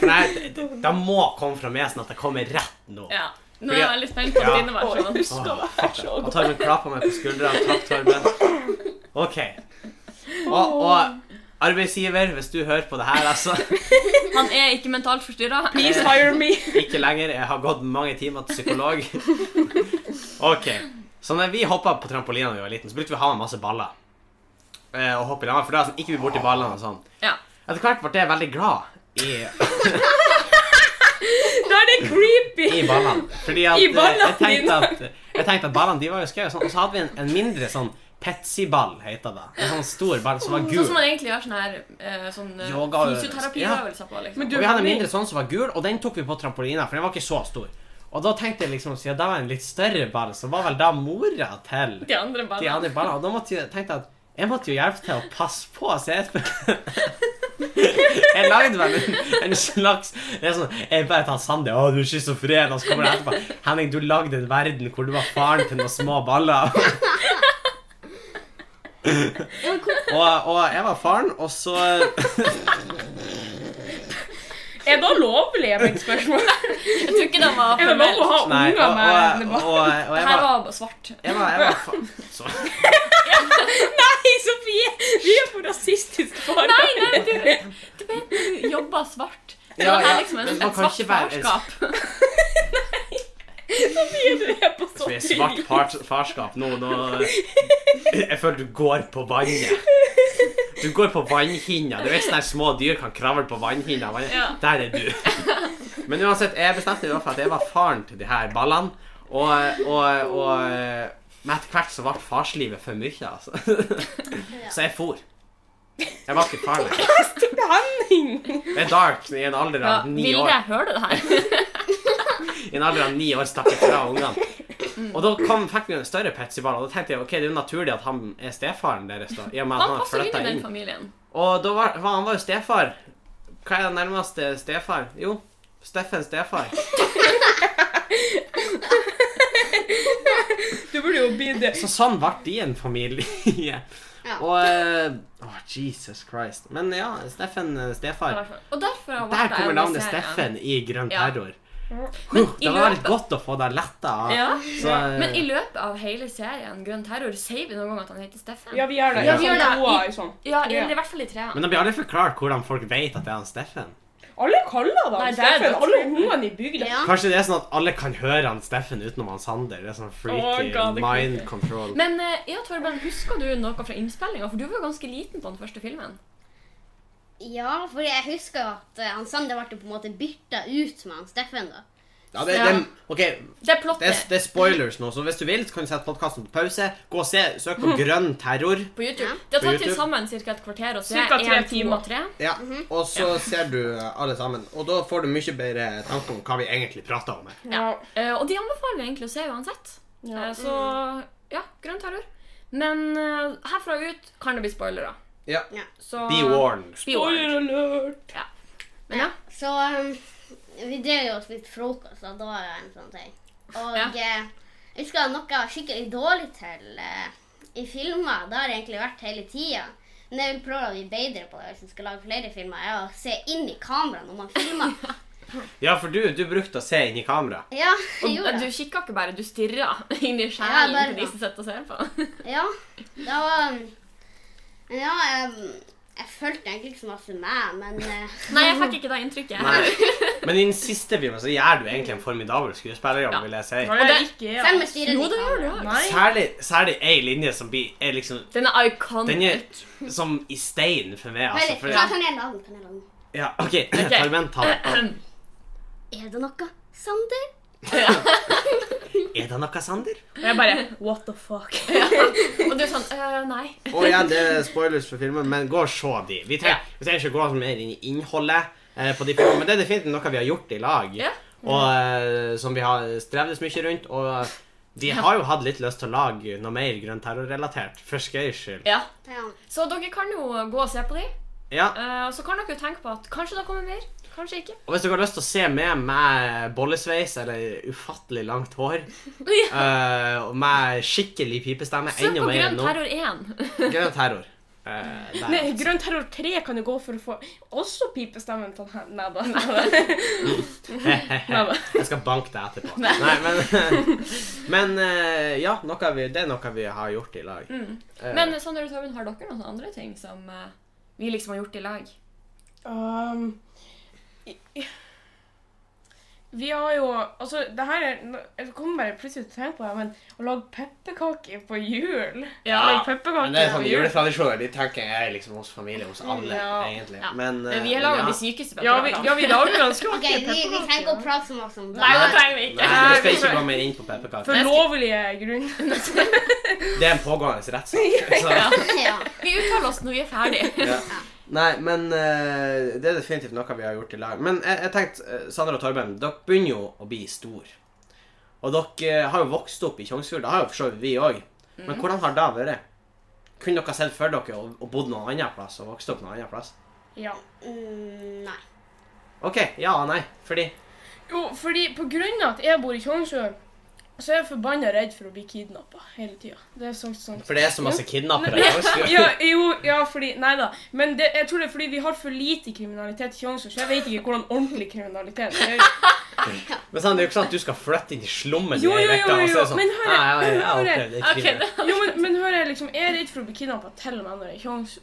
S1: For nei, det, det, det må komme fra meg sånn at det kommer rett nå.
S4: Ja. Nå er jeg veldig spent på
S1: Ja.
S4: dine
S2: Å, jeg
S4: versjoner.
S2: husker det her så
S1: Og
S2: godt.
S1: Torben klapper meg på skuldra. Takk, Torben. OK. Og, og arbeidsgiver, hvis du hører på det her, altså.
S4: Han er ikke mentalt forstyrra.
S2: Please hire me.
S1: Ikke lenger. Jeg har gått mange timer til psykolog. OK. Så når vi hoppa på trampolina da vi var liten, så brukte vi å ha med masse baller. Eh, og hoppe i lag, for da sånn, gikk vi borti ballene og sånn.
S4: Ja.
S1: Etter hvert ble jeg veldig glad i,
S2: Da er det creepy.
S1: i ballene. Fordi at,
S2: I ballene
S1: eh, jeg, tenkte at, jeg tenkte at ballene de var jo skøye. Sånn, og så hadde vi en, en mindre sånn Petsi-ball, heter det. En sånn stor ball som var
S4: Sånn
S1: gul.
S4: som man egentlig gjør sånn her eh, sånn eh,
S1: Yoga-
S4: fysioterapiøvelser på. liksom.
S2: Men
S1: Og vi hadde en mindre sånn som var gul, og den tok vi på trampolina, for den var ikke så stor. Og da tenkte jeg liksom, siden det var en litt større ball, så var vel da mora til
S4: De andre
S1: de
S4: ballene.
S1: andre ballene. Og da måtte jeg, tenkte jeg at jeg måtte jo hjelpe til å passe på, så jeg Jeg lagde vel en, en slags det er sånn, Jeg bare tar Sander, å, du er schizofren, og så kommer det etterpå. Henning, du lagde en verden hvor du var faren til noen små baller. Og, og jeg var faren, og så
S2: Er det lovlig, er mitt spørsmål?
S4: Jeg tror ikke den var
S2: Er det lov å
S4: formell.
S2: ha
S1: Nei, og,
S2: unger
S1: og, og,
S2: med
S1: og, og
S4: Det
S1: jeg
S4: her
S1: var
S4: var svart.
S1: jeg var, jeg var
S4: liksom
S1: fa- så,
S2: Nei, Sofie! Vi er på rasistisk fare.
S4: Nei, nei, du, du vet du jobber svart.
S1: Ja,
S4: Så det er
S1: ja,
S4: liksom en,
S1: men man
S4: et
S1: kan
S4: svart
S1: ikke være-
S4: farskap.
S2: Sofie, du er på
S1: Vi er
S2: sånn
S1: svart part, farskap nå. nå jeg føler du går på vannet. Du går på vannhinna. Du vet sånne her små dyr kan kravle på vannhinna. vann-
S4: Ja.
S1: Der er du. Men uansett, jeg bestemte meg for at jeg var faren til de her ballene. Og, og, og Men etter hvert så ble farslivet for mye, altså. Så jeg for. Jeg var ikke far lenger.
S2: Henning!
S1: Det er dark i en alder
S4: Ja,
S1: av ni år.
S4: Vilde, hører du det her?
S1: I en alder av ni år stakk jeg fra ungene.
S4: Mm.
S1: Og da kom, fikk vi en større petsyball, og da tenkte jeg ok, det er jo naturlig at han er stefaren deres. da, i og med at
S4: Han
S1: han har
S4: passer jo inn
S1: flyttet
S4: i den
S1: inn.
S4: familien.
S1: Og da var, var han var jo stefar. Hva er den nærmeste stefar? Jo, Steffen stefar.
S2: Du burde jo bli det.
S1: Så sånn ble de en familie.
S3: Ja.
S1: Og eh, Åh, Jesus Christ. Men ja, Steffen eh, stefar.
S4: Og derfor har
S1: Der
S4: Martha
S1: kommer navnet
S4: Elveserien.
S1: Steffen i Grønn
S4: Ja.
S1: terror.
S4: Men
S1: Huh,
S4: i
S1: det var litt
S4: løpet-
S1: godt å få deg letta av.
S4: Ja.
S1: Så, eh,
S4: Men i løpet av hele serien Grønn terror sier vi noen gang at han heter Steffen?
S2: Ja, vi gjør det.
S1: Ja,
S4: vi gjør det.
S2: Sånn, Noah, sånn.
S4: Ja, eller i hvert fall i treeren.
S1: men det blir aldri forklart hvordan folk vet at det er han Steffen.
S2: Alle kaller det
S4: Nei,
S2: han
S4: det er
S2: Steffen.
S4: det.
S2: Alle ungene i bygda.
S3: Ja.
S1: Kanskje det er sånn at alle kan høre han Steffen utenom han Sander. Det er sånn freaky
S2: Åh, God, det er
S1: mind
S2: creepy.
S1: control.
S4: Men eh, ja, Torben, husker du noe fra innspillinga? For du var jo ganske liten på den første filmen.
S3: Ja, for jeg husker at eh, han Sander ble på en måte bytta ut med han Steffen, da.
S1: Ja, det,
S4: Ja.
S1: det, ok,
S4: Det er plottet
S1: Det er, det er spoilers nå, så hvis du vil, så kan du sette podkasten på pause. Gå og se, søk på Grønn terror.
S4: på YouTube.
S3: Ja.
S4: Det har
S1: På
S4: tatt til
S1: YouTube.
S4: sammen ca. et kvarter å se.
S2: Cirka tre
S4: en time og tre.
S1: Ja, Mhm. Og så ser du alle sammen. Og da får du mye bedre tanke om hva vi egentlig prater om. her.
S2: Ja.
S4: Eh, og de anbefaler vi egentlig å se uansett.
S2: Ja.
S4: Eh, så ja, grønn terror. Men eh, herfra ut kan det bli spoilere.
S1: Ja.
S4: Så
S1: Be warned.
S4: Be warned.
S2: Spoiler alert.
S4: Men ja.
S3: Så um, vi drev jo og spiste frokost, og da var det en sånn ting. Og
S4: Ja.
S3: eh, jeg husker noe skikkelig dårlig til eh, i filmer. Det har jeg egentlig vært hele tida. Men jeg vil prøve å bli bedre på det hvis jeg skal lage flere filmer. er å se inn i kameraet når man filmer.
S1: Ja, for du, du brukte å se inn i kamera.
S3: Ja, jeg
S4: Og,
S3: gjorde
S4: du
S3: det.
S4: kikker ikke bare, du stirrer inn i
S3: Ja,
S4: sjelen
S3: bare-
S4: til de som sitter og ser på.
S3: Ja, da var Men ja, jeg, jeg følte egentlig ikke så masse med, men eh,
S4: Nei, jeg fikk ikke det inntrykket.
S1: Men i den siste filmen så gjør du egentlig en formidabel skuespillerjobb,
S4: Ja.
S1: vil jeg si.
S2: Nei,
S4: det-
S3: selv om
S2: ikke jeg. altså.
S3: jeg styrer
S4: Jo,
S3: inn i
S4: det gjør du.
S3: kameraet.
S4: ja.
S2: Nei.
S1: Særlig, særlig ei linje som blir, er liksom
S4: Den er iconic.
S1: Den er som i stein for meg, altså.
S3: Vent
S1: For,
S3: litt, kan kan jeg lage den? Kan jeg lage den?
S1: ja, OK. Torben, ta det.
S3: Er det noe, Sander?
S1: Er det noe, Sander?
S2: Og jeg bare What the fuck?
S4: Og du er sånn øh, Nei.
S1: Og igjen, det er spoilers for filmen, men gå og se de. Vi trenger, vi trenger ikke gå så mer inn i innholdet eh, på de filmene, men det er definitivt noe vi har gjort i lag,
S4: Ja.
S1: og eh, som vi har strevdes mye rundt, og vi har jo hatt litt lyst til å lage noe mer grønn terror-relatert, for skøys skyld.
S4: Ja.
S3: Ja.
S4: Så dere kan jo gå og se på de.
S1: Ja,
S4: Eh, og så kan dere jo tenke på at kanskje det kommer mer. Kanskje ikke.
S1: og hvis dere har lyst til å se meg med bollesveis eller ufattelig langt hår, eh, og med skikkelig pipestemme,
S4: Søk
S1: enda
S4: på
S1: mer enn nå,
S4: Grønn terror 1.
S1: grønn terror. Eh, der.
S2: Nei, Grønn terror 3 kan du gå for å få også pipestemmen til han Nei da. nei da.
S1: Jeg skal banke deg etterpå. Nei, men Men eh, ja, noe vi, det er noe vi har gjort i lag. Eh,
S4: Men Sander og Torben, har dere noen sånne andre ting som eh, vi liksom har gjort i lag?
S2: Um, i- i- vi har jo Altså, det her er nå- Jeg kommer bare plutselig til å tenke på det, men å lage pepperkaker på jul
S1: men det
S4: Ja,
S2: Lage
S1: er
S2: pepperkaker på
S1: sånn
S2: jul.
S1: juletradisjoner. De tenker jeg liksom hos familie, hos alle,
S2: Ja.
S1: egentlig.
S4: Ja.
S1: Men eh,
S4: vi har laget
S1: ja.
S4: de sykeste
S2: Ja, vi, ja, vi lager altså ganske
S3: Ok,
S2: artige
S3: vi, vi trenger ikke å prate så masse om det.
S4: Nei, det trenger vi
S1: Nei,
S4: ikke.
S1: vi skal ikke gå mer inn på pepperkaker.
S2: For lovlige grunner.
S1: Det er en pågående rettssak. så-
S3: Ja.
S4: Vi uttaler oss når vi er ferdige.
S1: Ja. Nei, men eh, det er definitivt noe vi har gjort i lag. Men jeg, jeg tenkte, eh, Sander og Torben, dere begynner jo å bli store. Og dere eh, har jo vokst opp i Tjongsfjord. Det har jo for så vidt vi òg. Men
S2: Mhm.
S1: hvordan har det vært? Kunne dere sett for dere og, og bodd noen annen plass og vokst opp noen annen plass?
S2: Ja.
S3: Mm, nei.
S1: OK. Ja og nei. Fordi
S2: Jo, fordi på grunn av at jeg bor i Tjongsjø, så er jeg forbanna redd for å bli kidnappa hele tida. Det er sånn, sånn.
S1: For det er så masse kidnappere i Tjongsfjord.
S2: Ja, jo, ja, fordi Nei da. Men det, jeg tror det er fordi vi har for lite kriminalitet i Tjongsjø, så jeg vet ikke hvordan ordentlig kriminalitet er.
S1: Men Sander, det er jo ikke sånn at du skal flytte inn i slummen
S2: Jo,
S1: i ei
S2: jo,
S1: uke, og
S2: jo,
S1: så er det
S2: jo,
S1: sånn,
S2: men hør-
S1: «Nei, jeg- jeg- jeg har
S2: hør her.
S1: opplevd det
S4: Ok,
S1: tidligere».
S4: det-
S2: Jo, men, men hør her, liksom. Jeg er redd for å bli kidnappa til og med når jeg er i Tjongsjø.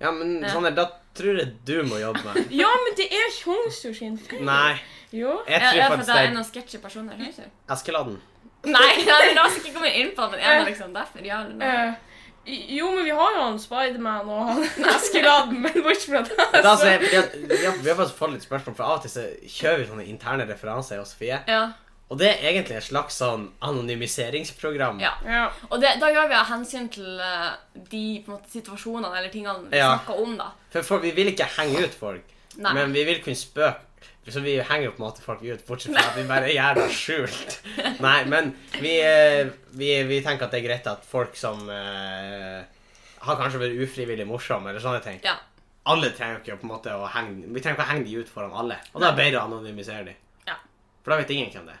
S1: Ja, men
S4: Ja.
S1: Sander, da tror jeg du må jobbe med
S2: Ja, men det er Tjongsjø sin feil.
S1: Nei.
S2: Jo.
S1: Jeg
S4: Ja,
S1: tror
S4: ja, for
S1: faktisk
S4: det
S1: det
S4: er
S1: er
S4: en av sketchy personer. kanskje?
S1: Askeladden.
S4: Nei, ja, la oss ikke komme inn på det, men en av liksom derfor. Ja, eller nei.
S2: Eh, jo, men vi har jo han Spiderman og han Askeladden, men bortsett fra det
S1: Men Da, så jeg, jeg, jeg, vi har faktisk fått litt spørsmål, for av og til så kjører vi sånne interne referanser i Sofie.
S4: Ja.
S1: Og det er egentlig et slags sånn anonymiseringsprogram.
S4: Ja.
S2: Ja.
S4: Og det, da gjør vi av hensyn til eh, de på en måte, situasjonene eller tingene vi
S1: Ja.
S4: snakker om, da.
S1: For, for vi vil ikke henge ut folk,
S4: Nei.
S1: men vi vil kunne spøke. Så vi henger jo på en måte folk ut, bortsett fra at vi bare gjør det skjult. Nei, men vi, eh, vi, vi tenker at det er greit at folk som eh, har kanskje vært ufrivillig morsomme, eller sånne ting
S4: Ja.
S1: Alle trenger ikke å på en måte å henge Vi trenger ikke å henge de ut foran alle. Og da er det bedre å anonymisere de.
S4: Ja.
S1: For da vet ingen hvem det er.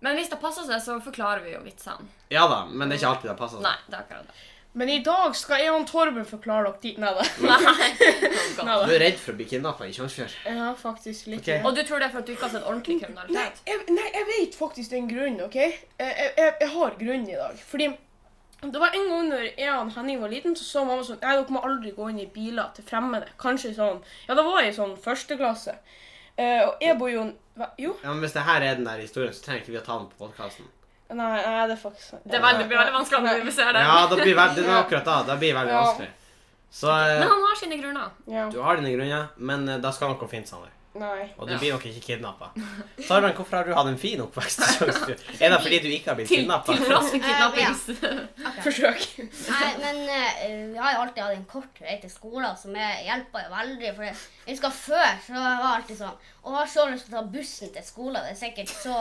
S4: Men hvis det passer seg, så forklarer vi jo vitsene.
S1: Ja da, men det er ikke alltid det passer. sånn.
S4: Nei, det er akkurat det.
S2: Men i dag skal jeg og Torben forklare dere dit. Nei da.
S4: Nei.
S2: Nei
S1: Du
S2: da.
S1: er redd for å bli kidnappa i Tjongsfjord.
S2: Ja, faktisk litt.
S1: Ok.
S4: Og du tror det er for at du ikke har sett ordentlig
S2: Nei,
S4: kriminalitet?
S2: jeg, nei, jeg vet faktisk den grunnen, OK? Jeg, jeg, jeg- jeg har grunnen i dag. Fordi det var en gang når jeg og Henning var liten, så sa mamma sånn Nei, dere må aldri gå inn i biler til fremmede. Kanskje sånn Ja, da var jeg i sånn første klasse. Eh, og jeg bor jo hva- Jo,
S1: Ja, men Hvis det her er den der historien, så trenger ikke vi å ta den på podkasten.
S2: nei, nei, det er faktisk
S4: Det er veldig, blir veldig vanskelig å analysere det.
S1: Ja, da blir veld- det er akkurat da. Da blir det veldig
S2: Ja.
S1: vanskelig. Så eh,
S4: Men han har sine grunner.
S2: Ja,
S1: du har dine grunner, men eh, da skal noe fint sammen.
S2: nei.
S1: Og du
S4: Ja.
S1: blir nok ikke kidnappa. Sarban, hvorfor har du hatt en fin oppvekst? i Tjongsfjord? Er det fordi du ikke har blitt
S4: Til,
S1: kidnappa?
S4: til tross for kidnappings.
S2: Forsøk.
S3: Nei, men eh, vi har jo alltid hatt en kort vei til skolen, som jeg hjelper jo veldig. For jeg husker før så var jeg alltid sånn Å, jeg har så lyst til å ta bussen til skolen. Det er sikkert så,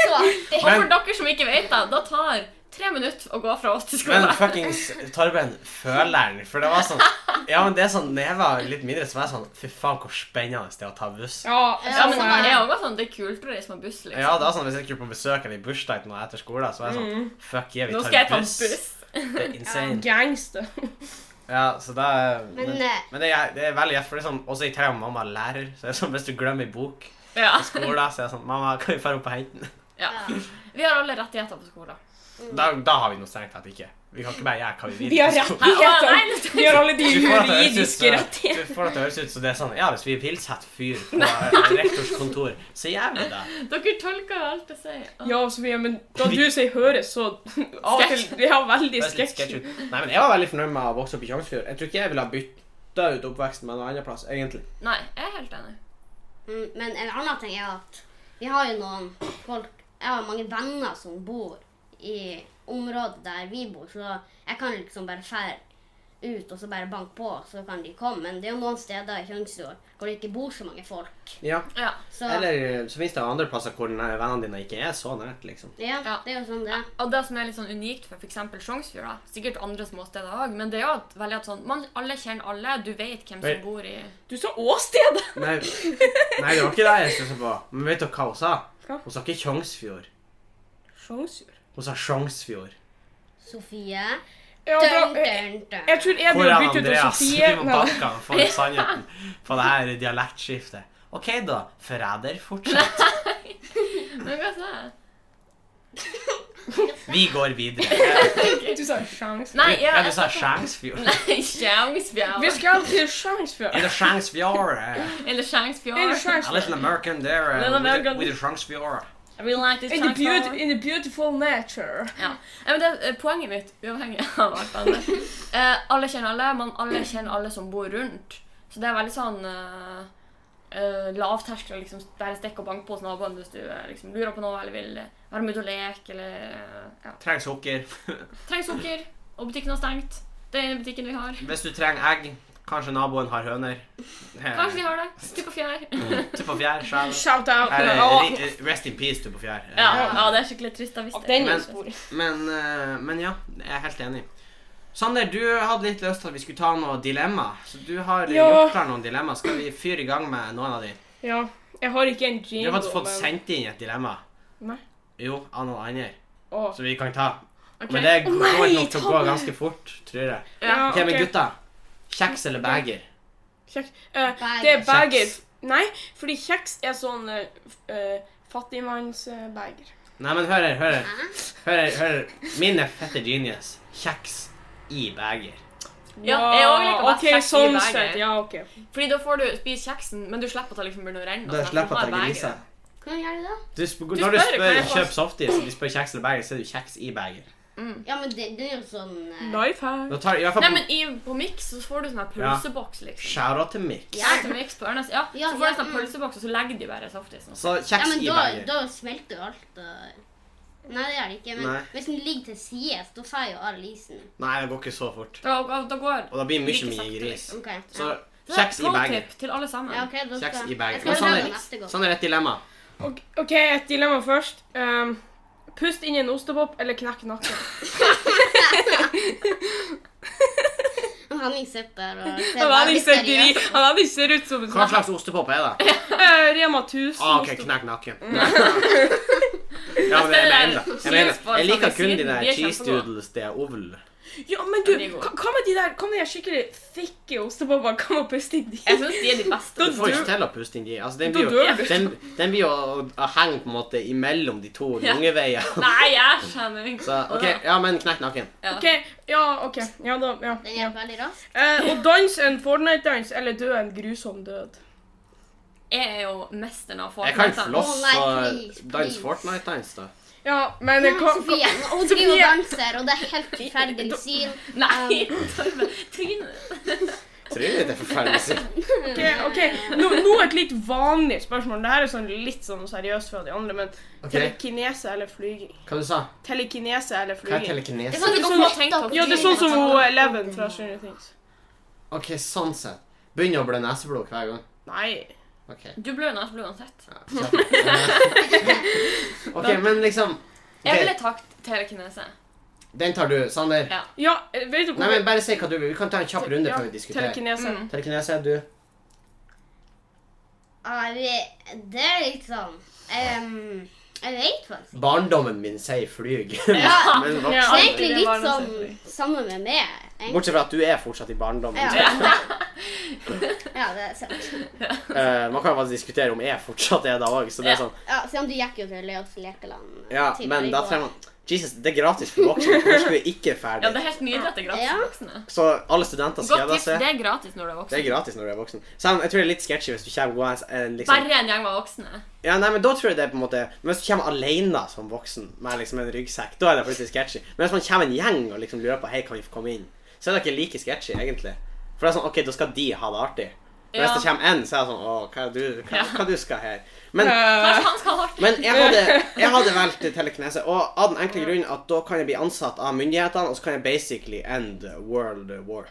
S3: så artig.
S4: Og for dere som ikke vet det, da tar tre minutter å gå fra oss til
S1: Men
S4: skolen.
S1: fuckings Torben, føleren. For det var sånn Ja, men det er sånn, når jeg var litt mindre, så var jeg sånn Fy faen, hvor spennende det er å ta buss.
S2: Ja,
S4: Ja,
S2: ja,
S4: men
S2: nei.
S4: jeg er også sånn, Det er kult å reise med buss, liksom.
S1: Ja, det var sånn, Hvis jeg skulle på besøk eller i bursdag til noen etter skolen, så var jeg sånn Fuck yeah, vi
S4: Mm. Nå
S1: tar
S4: skal jeg ta en
S1: buss.
S4: buss.
S1: Det er insane.
S2: Gangster.
S1: Ja, så da Men,
S3: Men,
S1: men,
S3: eh,
S1: det, er, det er veldig gjett, for det er sånn Også i tillegg om mamma er lærer, så er det sånn hvis du glemmer en bok på
S4: Ja.
S1: skolen, så er det sånn Mamma, kan vi dra opp og hente den?
S4: ja. Vi har alle rettigheter på skolen.
S1: Da, da har vi noe strengt tatt ikke. Vi kan ikke bare gjøre hva vi vil.
S2: Vi har
S1: på skolen.
S4: Nei, nei,
S2: rettigheter. Vi har alle de
S1: Du får det til å høres ut
S2: juridiske
S1: som-
S2: rettighetene.
S1: Du får det til å høres ut som det er sånn Ja, hvis vi vil sette fyr på eh, rektors kontor, så gjør vi det.
S4: Dere tolker jo alt jeg sier. Å.
S2: Ja, Sofie, men da du sier 'høres', så av og til Vi har veldig
S1: Det høres litt sketchy
S2: sketsj.
S1: ut. Nei, men jeg var veldig fornøyd med å vokse opp i Tjongsfjord. Jeg tror ikke jeg ville ha bytta ut oppveksten med noe annet plass, egentlig.
S4: Nei, jeg er helt enig.
S3: Mm, Men en annen ting er at vi har jo noen folk Jeg har mange venner som bor i området der vi bor, så jeg kan liksom bare fære ut og så bare banke på, så kan de komme. Men det er jo noen steder i Tjøngsfjord hvor det ikke bor så mange folk.
S1: Ja.
S4: Ja.
S3: Så
S1: Eller så finnes det andre plasser hvor den her vennene dine ikke er så nært, liksom.
S3: ja,
S4: Ja.
S3: det er jo sånn det er.
S4: Og det som er litt sånn unikt for f.eks. Sjongsfjord, da, sikkert andre småsteder òg, men det er jo at veldig at sånn man, Alle kjenner alle, du vet hvem
S1: Vel-
S4: som bor i
S2: Du sa åstedet!
S1: Nei, nei, det var ikke det jeg stussa på. Men vet dere hva hun sa?
S2: Hva?
S1: Hun sa ikke Tjongsfjord.
S2: Sjongsfjord.
S1: Hun sa Sjongsfjord.
S3: Sofie.
S2: Ja,
S3: Dun,
S2: bra. Jeg
S3: dun, dun.
S2: jeg tror jeg
S1: Hvor
S2: burde
S1: er
S2: bytte ut av
S1: Andreas?
S2: Sofie.
S1: Vi må
S2: Nei,
S1: banke han for sannheten på det her dialektskiftet. OK, da. Forræder, fortsett.
S4: Men hva sa jeg?
S1: Vi går videre.
S2: du sa Sjangs.
S4: Nei, ja,
S1: Ja, du sa Skjengsfjord.
S4: Nei,
S2: Vi
S4: Sjongsfjord.
S2: skal til Sjangsfjord.
S1: In the Shanksfjord. eh,
S4: Eller
S2: In the
S4: Sjongsfjord.
S1: A
S2: Sjangsfjord.
S1: little American there. eh,
S4: Little
S1: with the-
S4: American.
S1: With the Shanksfjord.
S4: We like this
S2: In the, beaut-
S4: Sjongsfjord.
S2: in the beautiful nature.
S4: Ja. Ja, men det er poenget mitt, uavhengig av alt annet. Eh, alle kjenner alle, men alle kjenner alle som bor rundt. Så det er veldig sånn eh, eh, lavterskel å liksom bare stikke og banke på hos naboen hvis du eh, liksom lurer på noe eller vil eh, være med ut og leke eller eh, ja.
S1: Trenger sukker.
S4: Trenger sukker, og butikken har stengt. Det er den ene butikken vi har.
S1: Hvis du trenger egg, kanskje naboen har høner. Eh,
S4: Kanskje vi har det. Stupp og fjær.
S1: Tu på fjær, sjæl.
S2: Shout out.
S1: Her er
S2: Ja.
S1: ri- eh, Rest in peace, tu på fjær. Eh,
S4: Ja, ja, det er skikkelig trist. da, hvis det.
S2: Den er
S1: Men-
S2: stor.
S1: Men, eh, men ja, jeg er helt enig. Sander, du hadde litt lyst til at vi skulle ta noen dilemma. Så du har eh,
S2: Ja.
S1: gjort klar noen dilemma. Skal vi fyre i gang med noen av de?
S2: Ja. Jeg har ikke en
S1: Du
S2: jingle,
S1: har faktisk fått
S2: men
S1: sendt inn et dilemma.
S2: Nei.
S1: Jo, av noen andre.
S2: Å.
S1: Så vi kan ta.
S4: Ok.
S1: Men det
S2: Å
S1: går
S2: nei,
S1: nok til
S2: ta
S1: å gå
S2: det.
S1: ganske fort, tror jeg.
S2: Ja,
S1: Ok, men
S2: ok.
S1: gutta. Kjeks eller beger?
S2: Kjeks. Eh,
S3: Beger.
S2: det er beger.
S1: Kjeks.
S2: Nei, fordi kjeks er sånn eh, f- eh, fattigmannsbeger.
S1: Nei, men hør her, hør her. Hør her, hør her. Min er fette genius. Kjeks i beger.
S4: Ja, jeg også liker best
S2: ok,
S4: kjeks i Mm.
S2: sånn
S4: beger.
S2: sett, ja, ok.
S4: Fordi da får du spise kjeksen, men du slipper at det liksom begynner å
S2: Altså,
S4: renne. og sånn, for du har beger.
S3: Hvordan gjør du det?
S1: Du sp
S4: Du
S1: når du
S4: spør, kan
S1: spør
S4: jeg få-
S1: kjøp softis, og de spør kjeks eller beger, så er det jo kjeks i beger.
S3: Ja, men det, det er jo sånn eh,
S2: Life hack.
S1: Da tar i hvert
S4: Nei,
S1: fall
S4: men i, på Mix så får du sånn her
S1: Ja.
S4: pølseboks, liksom.
S1: skjæra til Mick.
S4: Ja. til Mix på Ørnes. Ja,
S3: Ja,
S4: så får
S3: ja,
S4: du sånn
S3: mm.
S4: pølseboks, og så legger de bare softisen.
S1: Så
S3: Ja,
S1: kjeks
S3: men
S1: i
S3: da,
S1: beger.
S3: da smelter jo alt. Og... Nei, det gjør det ikke. Men
S1: Nei.
S3: hvis den ligger til sides, da får jo all isen.
S1: Nei, det går ikke så fort.
S4: Da, da går
S1: Og da blir det
S4: Like
S1: mye mye
S4: sakte,
S1: gris.
S3: Ok.
S1: Så
S3: ja.
S4: Så
S1: kjeks i
S4: pro
S1: beger.
S4: tip til alle sammen.
S3: Ja, ok, da skal...
S1: Kjeks i
S3: Jeg
S1: beger.
S3: skal
S1: Men
S3: prøve
S1: Sander,
S3: neste gang.
S1: Sander, Sånn et dilemma.
S2: Ok, ok, et dilemma først. Um, pust inn i en ostepop eller knekk nakken.
S3: Henning sitter og ser
S2: Han hadde
S3: veldig
S2: ikke
S3: seriøs ut.
S2: ser ut som en
S1: Hva
S2: sånn
S1: slags ostepop er det?
S2: Eh, Rema 1000.
S1: Ah, ok,
S2: ostepop.
S1: knekk nakken. Ja, men jeg mener det. Jeg, mener, det.
S4: Cheeseballs
S1: jeg
S4: har
S1: liker
S4: vi
S1: kun de
S4: siden.
S1: der
S4: De er
S1: cheese
S4: kjempegode.
S1: doodles det er oval.
S2: Ja, men
S4: Ja,
S2: du,
S4: de er gode.
S2: hva hva med de der, hva med de der skikkelig thikke ostebobbene? Hva med å puste i de?
S4: Jeg syns de er de beste.
S1: Du får ikke til å puste inn i. Altså, den
S2: Da
S1: blir jo,
S2: dør du.
S1: den, den blir jo å, å henge på en måte imellom de to
S4: Ja.
S1: lungeveiene.
S4: Nei, jeg skjønner ikke.
S1: Så OK, ja, men knekk nakken.
S4: Ja.
S2: Ok, ja, ok. Ja, da, ja.
S3: Den
S2: ja.
S3: er veldig rask.
S2: Eh, og dans en Fortnite-dans, eller dø en grusom død.
S4: Jeg er jo mesteren av
S1: Jeg kan
S4: Fortnite.
S1: floss
S3: Å, nei,
S1: og
S3: please,
S1: dans
S3: please.
S1: Fortnite-dans, da.
S2: Ja, men
S3: Nei,
S2: eh, hva, hva,
S3: Sofie, hun driver og danser, og det er helt forferdelig syn.
S4: Nei, Torben. Trynet.
S1: Trynet er forferdelig.
S2: ok, ok. Nå, nå et litt vanlig spørsmål. Dette er sånn litt sånn seriøst fra de andre, men
S1: Ok.
S2: telekinese eller flyging?
S1: Hva du sa
S2: Telekinese eller
S1: Hva er
S2: flyging?
S3: Det
S1: telekinese?
S3: er sånn
S4: Det
S3: du
S4: går
S3: får
S4: på tenkt
S3: opp
S4: opp.
S2: Ja, det er sånn som hun Eleven fra Stranger Things.
S1: OK, sånn sett. Begynner å blø neseblod hver gang.
S2: Nei.
S1: OK.
S4: Du blør neseblod uansett.
S1: Ja, kjapt. OK, men liksom
S4: Jeg
S1: ok,
S4: ville tatt telekinese.
S1: Den tar du, Sander.
S4: Ja.
S2: Ja, eh, vet du
S1: Nei, men Bare si hva du vil. Vi kan ta en kjapp runde
S2: Ja,
S1: før vi diskuterer.
S2: Telekinese.
S4: Mm.
S1: Telekinese, du.
S3: Ja, vi- Det er litt sånn ehm, Jeg vet faktisk.
S1: Barndommen min sier flyg.
S3: Ja.
S1: Men
S3: Det
S1: voksen
S3: er
S2: Ja.
S3: egentlig
S2: Det var
S3: litt
S2: noe
S3: sånn
S2: selvfølgelig.
S3: sammen med meg. egentlig.
S1: Bortsett fra at du er fortsatt i barndommen.
S3: Ja. ja, det er sant.
S1: Eh, man kan jo faktisk diskutere om jeg fortsatt er det òg, så det er
S4: Ja.
S1: sånn
S3: Ja, Siden du gikk jo til Leos lekeland. eh,
S1: Ja,
S3: tidligere
S1: men
S3: i
S1: da
S3: går.
S1: trenger man Jesus, det er gratis for voksne. Hvorfor skulle vi ikke
S4: Ja, det
S1: ferdig?
S4: er helt nydelig at det er gratis
S3: Ja.
S4: for voksne.
S1: Så alle studenter skal
S4: Godt
S1: da
S4: tips.
S1: se.
S4: Det er gratis når du
S1: Det
S4: er
S1: er
S4: voksen.
S1: gratis når du er voksen. Selv om jeg tror det er litt sketchy hvis du kommer gående eh, liksom
S4: Bare en gjeng med voksne.
S1: Ja, nei, men da tror jeg det er på en måte Men hvis du kommer alene som voksen med liksom en ryggsekk, da er det plutselig sketchy. Men hvis man kommer en gjeng og liksom lurer på Hei, kan vi få komme inn, så er det ikke like sketchy, egentlig. For det er sånn OK, da skal de ha det artig. Men
S4: Ja.
S1: hvis det kommer én, så er det sånn Å, hva, er du, hva,
S4: Ja.
S1: hva du skal her? Men
S4: Kanskje han skal ha hardt.
S1: Men jeg hadde, jeg hadde valgt telekinese, og av den enkle grunnen at da kan jeg bli ansatt av myndighetene, og så kan jeg basically end world war.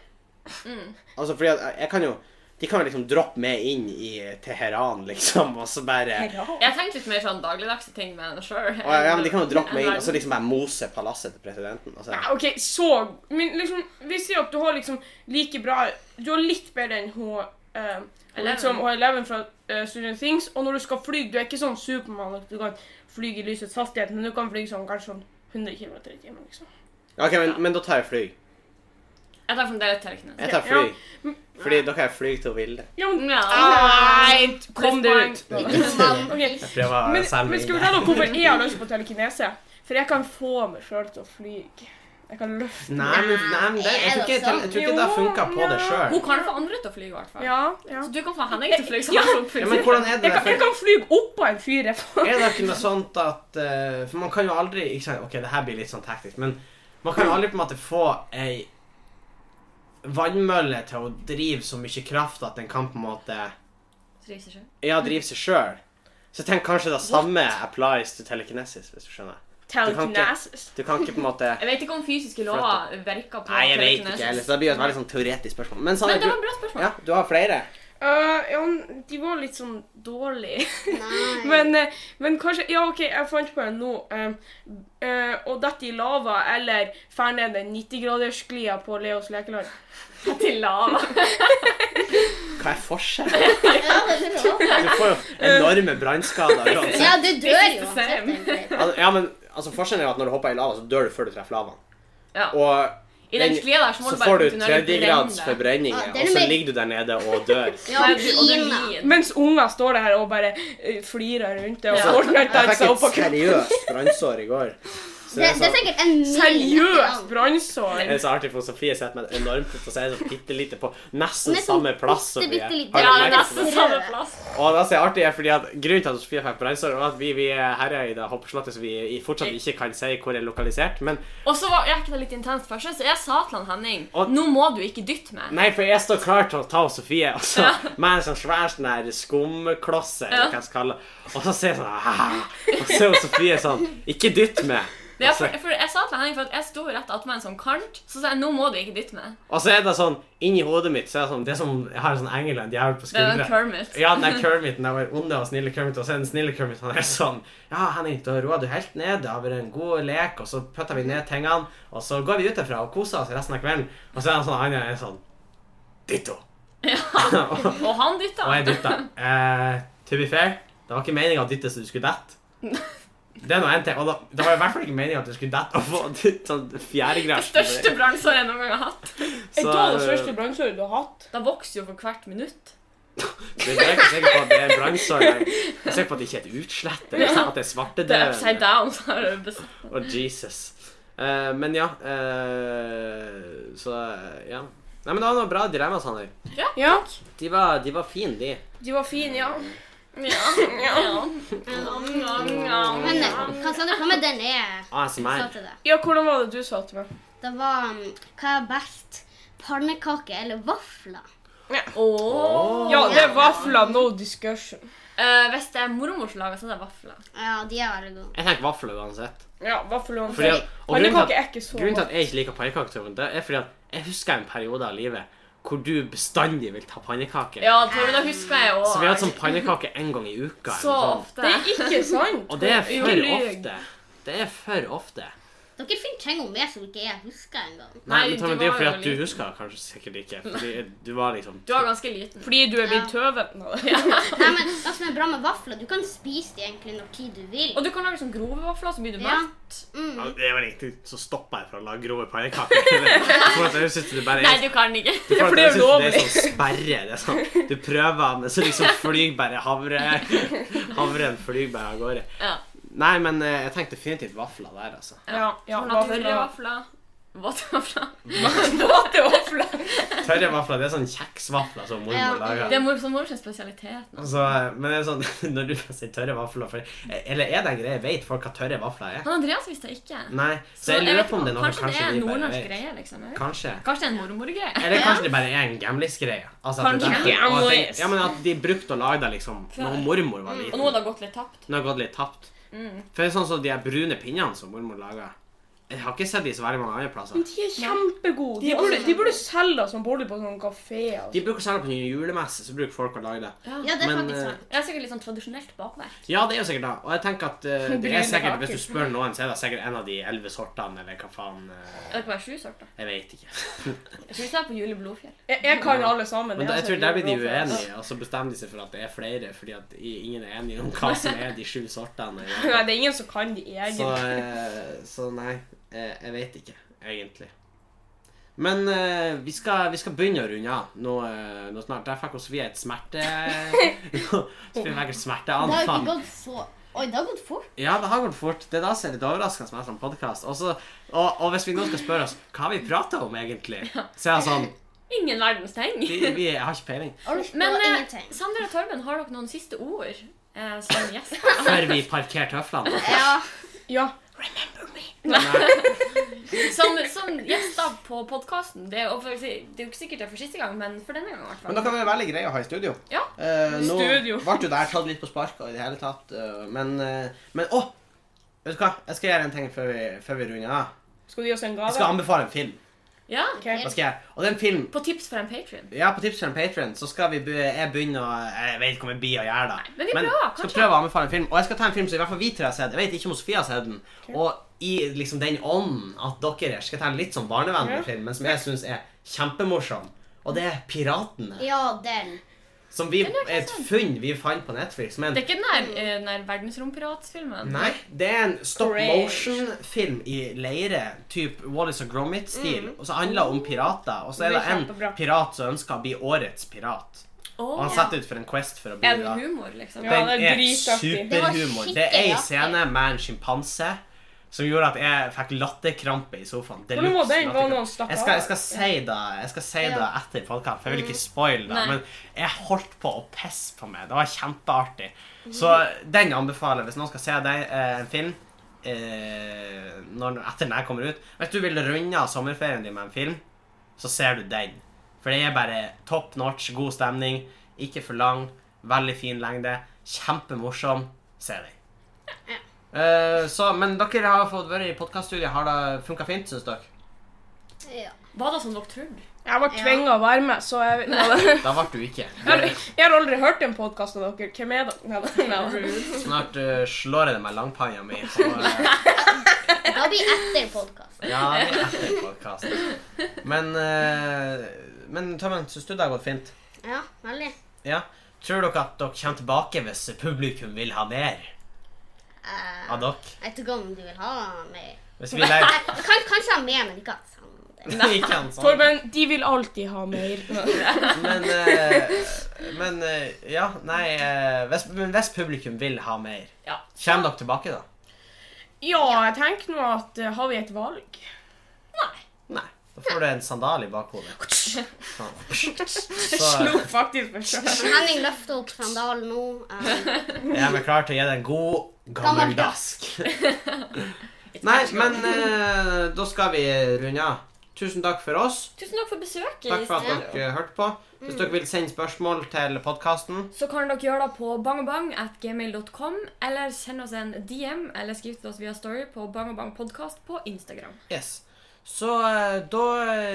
S2: Mm.
S1: Altså fordi at jeg- jeg kan jo De kan jo liksom droppe meg inn i Teheran, liksom, og så bare
S4: Jeg tenkte litt mer sånn dagligdagse ting med henne sjøl.
S1: og, ja, men De kan jo droppe meg inn og så liksom bare mose palasset til presidenten. Altså.
S2: Ja, OK, så Men liksom, vi sier at du har liksom like bra Du har litt bedre enn hun eh, hun
S4: Eleven.
S2: liksom, hun eleven fra uh, Student Things. Og når du skal fly Du er ikke sånn Supermann at du kan fly i lysets hastighet, men du kan fly sånn kanskje sånn 100 km i timen, liksom.
S1: Ok, men, men da tar jeg fly.
S4: Jeg tar fremdeles telekinese.
S1: Jeg tar fly.
S2: Mm.
S1: Fordi da kan jeg fly til Vilde.
S2: Ja, men
S4: Ja.
S2: Nei, kom deg ut! Ok,
S1: Prøver
S2: Men, men skal vi fortelle dere hvorfor jeg har lyst på telekinese? For jeg kan få meg sjøl til å fly. Jeg kan løfte
S1: Nei, men, nei, men det, jeg tror ikke, jeg tror ikke det funka på det sjøl.
S4: Hun kan få andre til å fly, i hvert fall.
S2: Ja, ja.
S4: Så du kan få Henning til å fly. så han får
S1: Ja,
S4: puls.
S1: men hvordan er det
S2: Jeg kan,
S1: for-
S2: jeg kan fly oppå en fyr. jeg får-
S1: Er det ikke noe sånt at eh, For man kan jo aldri ikke sant, Ok, det her blir litt sånn taktisk, men man kan jo aldri på en måte få ei vannmølle til å drive så mye kraft at den kan på en måte
S4: Reiser seg.
S1: Ja, drive seg sjøl. Så tenk kanskje det samme applies til telekinesis, hvis du skjønner.
S2: Telekinesis.
S1: Du kan ikke på en måte
S4: Jeg vet ikke om fysiske lover virker på
S1: Nei, jeg vet ikke
S4: telekinesis.
S1: heller, så det blir jo et veldig sånn teoretisk spørsmål. Men, Sanne,
S4: Men det var et bra spørsmål.
S1: du, ja, du har flere?
S2: Øh, ja, men de var litt sånn dårlige.
S3: Nei.
S2: men, eh, men kanskje Ja, OK, jeg fant på en nå. eh, eh, Å dette i lava eller fær ned den 90-gradersglia på Leos lekeland.
S4: Til lava.
S1: Hva er forskjellen?
S3: Ja, det er bra.
S1: Du får jo enorme brannskader uansett.
S3: ja, du dør jo.
S4: Siste serien.
S3: uansett, egentlig.
S1: Al- Ja, men altså, forskjellen er jo at når du hopper i lava, så dør du før du treffer lavaen.
S4: Ja.
S1: Og
S4: I den sklia der så må
S1: så
S4: du bare
S1: får du
S4: kontinuerlig
S1: tredjegrads
S4: brenne.
S1: forbrenninger,
S3: Ja, det
S1: og
S3: er
S1: så
S3: mer-
S1: ligger du der nede og dør.
S3: Ja,
S4: Nei, og det
S3: Tina.
S4: lin.
S2: Mens unger står der og bare eh, flirer rundt det og
S4: Ja.
S1: Jeg
S2: Fortnite-danser
S1: fikk
S2: oppå
S1: et
S2: kroppen.
S1: seriøst brannsår i går. Så det
S3: Det,
S1: er
S3: det er
S1: sånn-
S3: sikkert en mil etter
S2: Seriøst
S3: gang.
S1: det
S2: brannsår.
S1: er så artig, for Sofie sitter med et enormt putt og så er det så bitte lite på nesten
S3: Hun er sånn
S1: samme plass. som vi
S3: bitte,
S1: er.
S3: bitte lite.
S1: Har du
S4: Ja,
S1: merket
S4: nesten
S2: altså,
S1: det?
S4: samme plass.
S1: Og det som er artig, er fordi at grunnen til at Sofie fikk brannsår, var at vi, vi er herrer i det hoppeslottet, så vi i- fortsatt ikke kan si hvor det er lokalisert. Men
S4: Og så var jeg ikke det litt intenst først, så jeg sa til han Henning
S1: Og-
S4: Nå må du ikke dytte meg.
S1: Nei, for jeg står klar til å ta Sofie og så med en sånn svær sånn der skumklosse, eller
S4: Ja.
S1: hva jeg skal kalle det. Og så sier jeg sånn «Ah!» Og så er jo Sofie sånn Ikke dytt meg.
S4: Det er
S1: Og så-
S4: for, for jeg sa til Henning for at jeg sto rett attmed en sånn kant, så sa jeg nå må du ikke dytte meg.
S1: Og så er det sånn Inni hodet mitt så er det sånn Det er som om jeg har en sånn engel og en djevel på
S4: Det er den
S1: skuldra.
S4: Kermit.
S1: Ja, den der Kermiten, den var onde og snille Kermit, og så er den snille Kermit han er sånn Ja, Henning, da roer du helt ned, det har vært en god lek, og så putter vi ned tingene, og så går vi ut derfra og koser oss resten av kvelden, og så er han sånn Han er sånn Ditto. og
S4: Og han dytta.
S1: Og jeg dytta. Eh, to be fair, det var ikke meninga å dytte så du skulle dette. Det er noe en ting, og da, Det var i hvert fall ikke meningen at du skulle dette og få sånn
S4: Det
S1: fjerdegrads.
S4: største brannsåret jeg noen gang har hatt.
S2: Er da det
S1: eh,
S2: største brannsåret du har hatt?
S4: Da vokser jo for hvert minutt.
S1: Det er ikke sikker på at det er en brannsår. Jeg er sikker på at det ikke er et utslett. Jeg er sikker på at det er
S4: Det er
S1: svartedauden.
S4: upside down. så har det best-
S1: Og Jesus. Eh, men ja eh, Så ja. Nei, men det var noen bra dilemma, Sander.
S2: Ja.
S1: De var, de var fine, de.
S2: De var fine, ja.
S4: Ja, ja.
S3: Men eh, hva sa du? Hva med den jeg sa
S1: ASMR.
S3: til deg?
S2: Ja, hvordan var det du sa til meg?
S3: Det var mm, Hva er best? Pannekaker eller vafler?
S4: Åh.
S2: Ja, det er vafler, no discussion.
S4: Eh, hvis det er mormors laga, så er det vafler.
S3: Ja, de er veldig gode.
S1: Jeg tenker vafler uansett.
S2: Ja, vafler og
S1: Fordi at, og grunnen til at
S2: Pannekaker er ikke så
S1: Grunnen til
S2: godt.
S1: at jeg ikke liker pannekaker, Torben, det er fordi at jeg husker en periode av livet hvor du bestandig vil ta pannekaker.
S4: Ja, Torben, da husker jeg òg.
S1: Så vi har hatt sånn pannekaker en gang i uka. eller
S4: Så
S1: noe sånt.
S4: ofte.
S2: Det er ikke sant.
S1: Og det er
S4: Jo,
S1: for
S4: lyg.
S1: ofte. Det er for ofte.
S3: Dere finner ting om meg som ikke jeg husker engang.
S1: Nei,
S4: Nei,
S1: men Torben,
S4: du
S1: det er jo
S4: var
S1: fordi
S4: jo
S1: at du
S4: liten.
S1: husker det kanskje sikkert ikke. Fordi du var liksom
S4: Du var ganske liten.
S2: Fordi du er blitt tøven.
S3: Nei, men det som er bra med vafler, du kan spise de egentlig når tid du vil.
S4: Og du kan lage sånn grove vafler, så blir du
S3: Ja.
S4: mett.
S1: Ja,
S3: Mm.
S1: Det er vel egentlig så stopper jeg fra å lage grove pannekaker. For at jeg synes det bare
S4: Nei,
S1: er
S4: du kan ikke.
S1: for at
S2: for det er
S1: jeg synes Det
S2: ulovlig.
S1: er sånn sperre. Det er sånn, du prøver, men så liksom flyr bare havre, havren flyr bare av gårde.
S4: Ja.
S1: Nei, men eh, jeg tenkte definitivt vafler der, altså.
S2: Ja, ja,
S4: Sånn at du
S2: vafler.
S4: tørre vafler. Våte vafler.
S2: Våte vafler.
S1: Tørre vafler, det er sånn kjeksvafler som
S3: Ja,
S1: mormor lager.
S4: Det er mor, sånn mors spesialitet.
S1: Altså, men det er sånn, når du sier tørre vafler for, eh, Eller er det en greie? Vet folk hva tørre vafler er?
S4: Han Andreas visste det ikke.
S1: Nei, så jeg lurer på om det er noe
S4: kanskje det er
S1: de
S4: en
S1: bare
S4: nordnorsk
S1: vet.
S4: greie, liksom. jeg vet ikke.
S1: Kanskje.
S4: Kanskje det er en mormorgreie.
S1: Eller kanskje det bare er en gamlis-greie. Altså, at det
S2: Kanskje.
S1: er derfor- og at
S2: Gamlis.
S1: de- ja, men at de brukte å lage det liksom når mormor var
S4: Og
S1: liten.
S4: Mm. nå har det gått litt tapt.
S1: Nå har det gått litt tapt.
S4: Mm.
S1: For det er sånn som de her brune pinnene som mormor laga. Jeg har ikke sett de så veldig mange andre plasser.
S2: Men de er kjempegode. De
S4: er
S2: burde,
S4: også
S2: de burde selge det som boller på sånn kafé. Altså.
S1: De bruker særlig på julemesse, så bruker folk å lage det.
S3: Ja, det er
S1: Men,
S3: faktisk
S1: eh,
S3: sant.
S4: Det er sikkert litt sånn tradisjonelt bakverk.
S1: Ja, det er jo sikkert det. Og jeg tenker at eh, det er
S2: Brune
S1: sikkert,
S2: kaker.
S1: hvis du spør noen, så er det sikkert en av de elleve sortene, eller hva faen eh,
S4: Det kan være sju sorter.
S1: Jeg vet ikke.
S4: Jeg tror ikke det er på Juli Blodfjell.
S2: Jeg, jeg kan alle sammen.
S1: Men da, jeg
S2: har
S3: altså
S1: tror der blir de
S2: sett Jule Blåfjell.
S1: uenige, og så bestemmer de seg for at det er flere, fordi at i- ingen er enige om hva som er de sju sortene.
S2: Nei, det er ingen som kan de
S1: Så,
S2: egentlig.
S1: eh, så nei, eh, jeg vet ikke, egentlig. Men eh, vi, skal, vi skal begynne å runde av nå, eh, nå snart. Der fikk Sofie et smerte... Sofie fikk et
S3: Det har jo ikke
S1: smerteanfall.
S3: gått så Oi, det har gått fort.
S1: Ja, det har gått fort. Det er da som er litt overraskende med en sånn podkast. Og, så- og, og hvis vi nå skal spørre oss hva har vi prata om, egentlig, så er det sånn
S4: Ingen verdens ting.
S1: vi, vi Jeg har ikke peiling.
S3: Har du det
S4: Men
S3: var
S4: eh,
S3: ingenting.
S4: Sander og Torben, har dere noen siste ord eh, som gjester?
S1: Før vi parkerer tøflene.
S3: Ja.
S2: Ja.
S1: Nei,
S4: Som, som gjester på podkasten. Det, er jo- for å si- det er jo ikke sikkert det er for siste gang, men for denne gangen i hvert
S1: Men da
S4: fall.
S1: kan vi være veldig greie å ha i studio.
S4: Ja.
S1: Eh, nå
S2: Studio.
S1: ble jo det her tatt litt på sparket i det hele tatt, eh, men eh, Men å! Vet du hva? Jeg skal gjøre en ting før vi, før vi runder av.
S2: Skal du gi oss en
S1: Jeg skal
S2: gave?
S1: anbefale en film.
S4: Ja.
S2: Ok.
S1: Hva skal jeg gjøre? Og det er en film
S4: På tips fra en patron.
S1: Ja, på tips fra en patron så skal vi be, jeg begynne å Jeg vet ikke om jeg blir å gjøre det.
S4: men vi prøver,
S1: skal
S4: kanskje.
S1: prøve å anbefale en film. Og jeg skal ta en film som i hvert fall vi tre har sett. Jeg vet ikke om Sofie har sett den. Og i liksom den ånden at dere skal ta en litt sånn barnevennlig
S2: Ja.
S1: film, men som jeg syns er kjempemorsom. Og det er 'Piratene'.
S3: Ja, den.
S1: Som vi,
S4: Den har jeg ikke
S1: et funn vi fant på Netflix. Men
S4: Det er ikke den der, eh, den der verdensrompiratsfilmen.
S1: Nei, det er en stop
S2: Crash.
S1: motion-film i leire, type Wallis og Gromit-stil, og så handler det om pirater, og så er
S2: Det
S1: det
S2: blir
S1: en
S2: kjempebra.
S1: pirat som ønsker å bli årets pirat.
S4: Åh,
S1: Og han
S4: ja.
S1: setter ut for en quest for å bli
S4: Er det
S1: det.
S4: humor, liksom?
S2: Ja,
S1: Den
S2: det er
S1: er
S2: dritartig.
S3: Det var
S1: superhumor. Det er ei
S3: skikkelig
S1: scene med en sjimpanse som gjorde at jeg fikk latterkrampe i sofaen. Deluxe
S2: Hvordan var den? Var
S1: latterkrampe.
S2: noen slapp
S1: Jeg skal, jeg
S2: av?
S1: skal si det, jeg skal si det
S3: Ja.
S1: etter podkast, for jeg vil ikke spoile det.
S4: Nei.
S1: Men jeg holdt på å pisse på meg. Det var kjempeartig. Så den anbefaler jeg hvis noen skal se deg eh, en film. Eh, når, etter den her kommer ut. Hvis du vil runde av sommerferien din med en film, så ser du den. For det er bare top notch, god stemning, ikke for lang, veldig fin lengde, kjempemorsom. Se den. Eh, så, men dere har fått være i podkaststudiet. Har det funka fint, syns dere?
S3: Ja.
S4: Var det som dere trodde?
S2: Jeg ble tvinga å være med, så jeg Jeg
S1: Da ble du ikke.
S2: har- Jeg har aldri hørt en podkast av dere. Hvem er dere? Nei, nei, nei.
S1: Snart eh, slår jeg det med langpanna mi. Så, eh,
S3: Da blir etter podkast.
S1: ja, det er etter podkasten. Men, uh, men Tommen, syns du det har gått fint?
S3: Ja, veldig.
S1: Ja? Tror dere at dere kommer tilbake hvis publikum vil ha mer?
S3: Eh,
S1: av dere.
S3: jeg vet ikke om du vil ha mer.
S1: Hvis vi legger
S3: Jeg kan kanskje ha mer, men ikke at sånn.
S1: Ikke en sånn.
S2: Torben, de vil alltid ha mer.
S1: Men, eh, men eh, ja, nei eh, hvis, men hvis publikum vil ha mer,
S4: Ja.
S1: kommer dere tilbake da?
S2: Ja, jeg tenker nå at eh, har vi et valg?
S1: Nei. Da får du en sandal i bakhodet. Sånn.
S2: Jeg
S1: Så
S2: slo faktisk meg selv.
S3: Henning løfter opp sandalen nå. eh,
S1: jeg er vi klar til å gi deg en god gammeldask. Nei, men eh, da skal vi runde av. Tusen takk for oss.
S4: Tusen takk for besøket.
S1: Takk for
S4: i
S1: at
S4: studio.
S1: dere hørte på. Hvis dere vil sende spørsmål til podkasten
S4: Så kan dere gjøre det på bangabang.gmail.com, eller send oss en DM, eller skriv til oss via Story på bangabangpodkast på Instagram.
S1: Yes. Så eh, da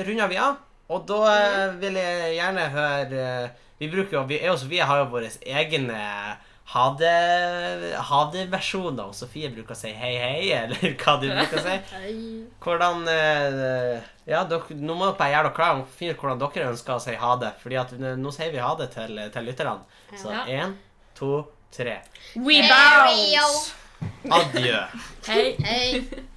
S1: runder vi av. Og da eh, vil jeg gjerne høre eh, Vi bruker jo, vi, er jo, vi har jo våre egne ha det- ha det-versjoner. Og Sofie bruker å si hei, hei, eller hva du bruker å si.
S3: øy.
S1: Hvordan eh, Ja, dere, nå må dere gjøre dere klare og finne ut hvordan dere ønsker å si ha det. Fordi at eh, nå sier vi ha det til, til lytterne. Så
S4: Ja.
S1: én, to, tre.
S2: We
S3: Hey,
S2: bounce!
S3: Rio.
S1: Adjø.
S4: Hei!
S3: Hei.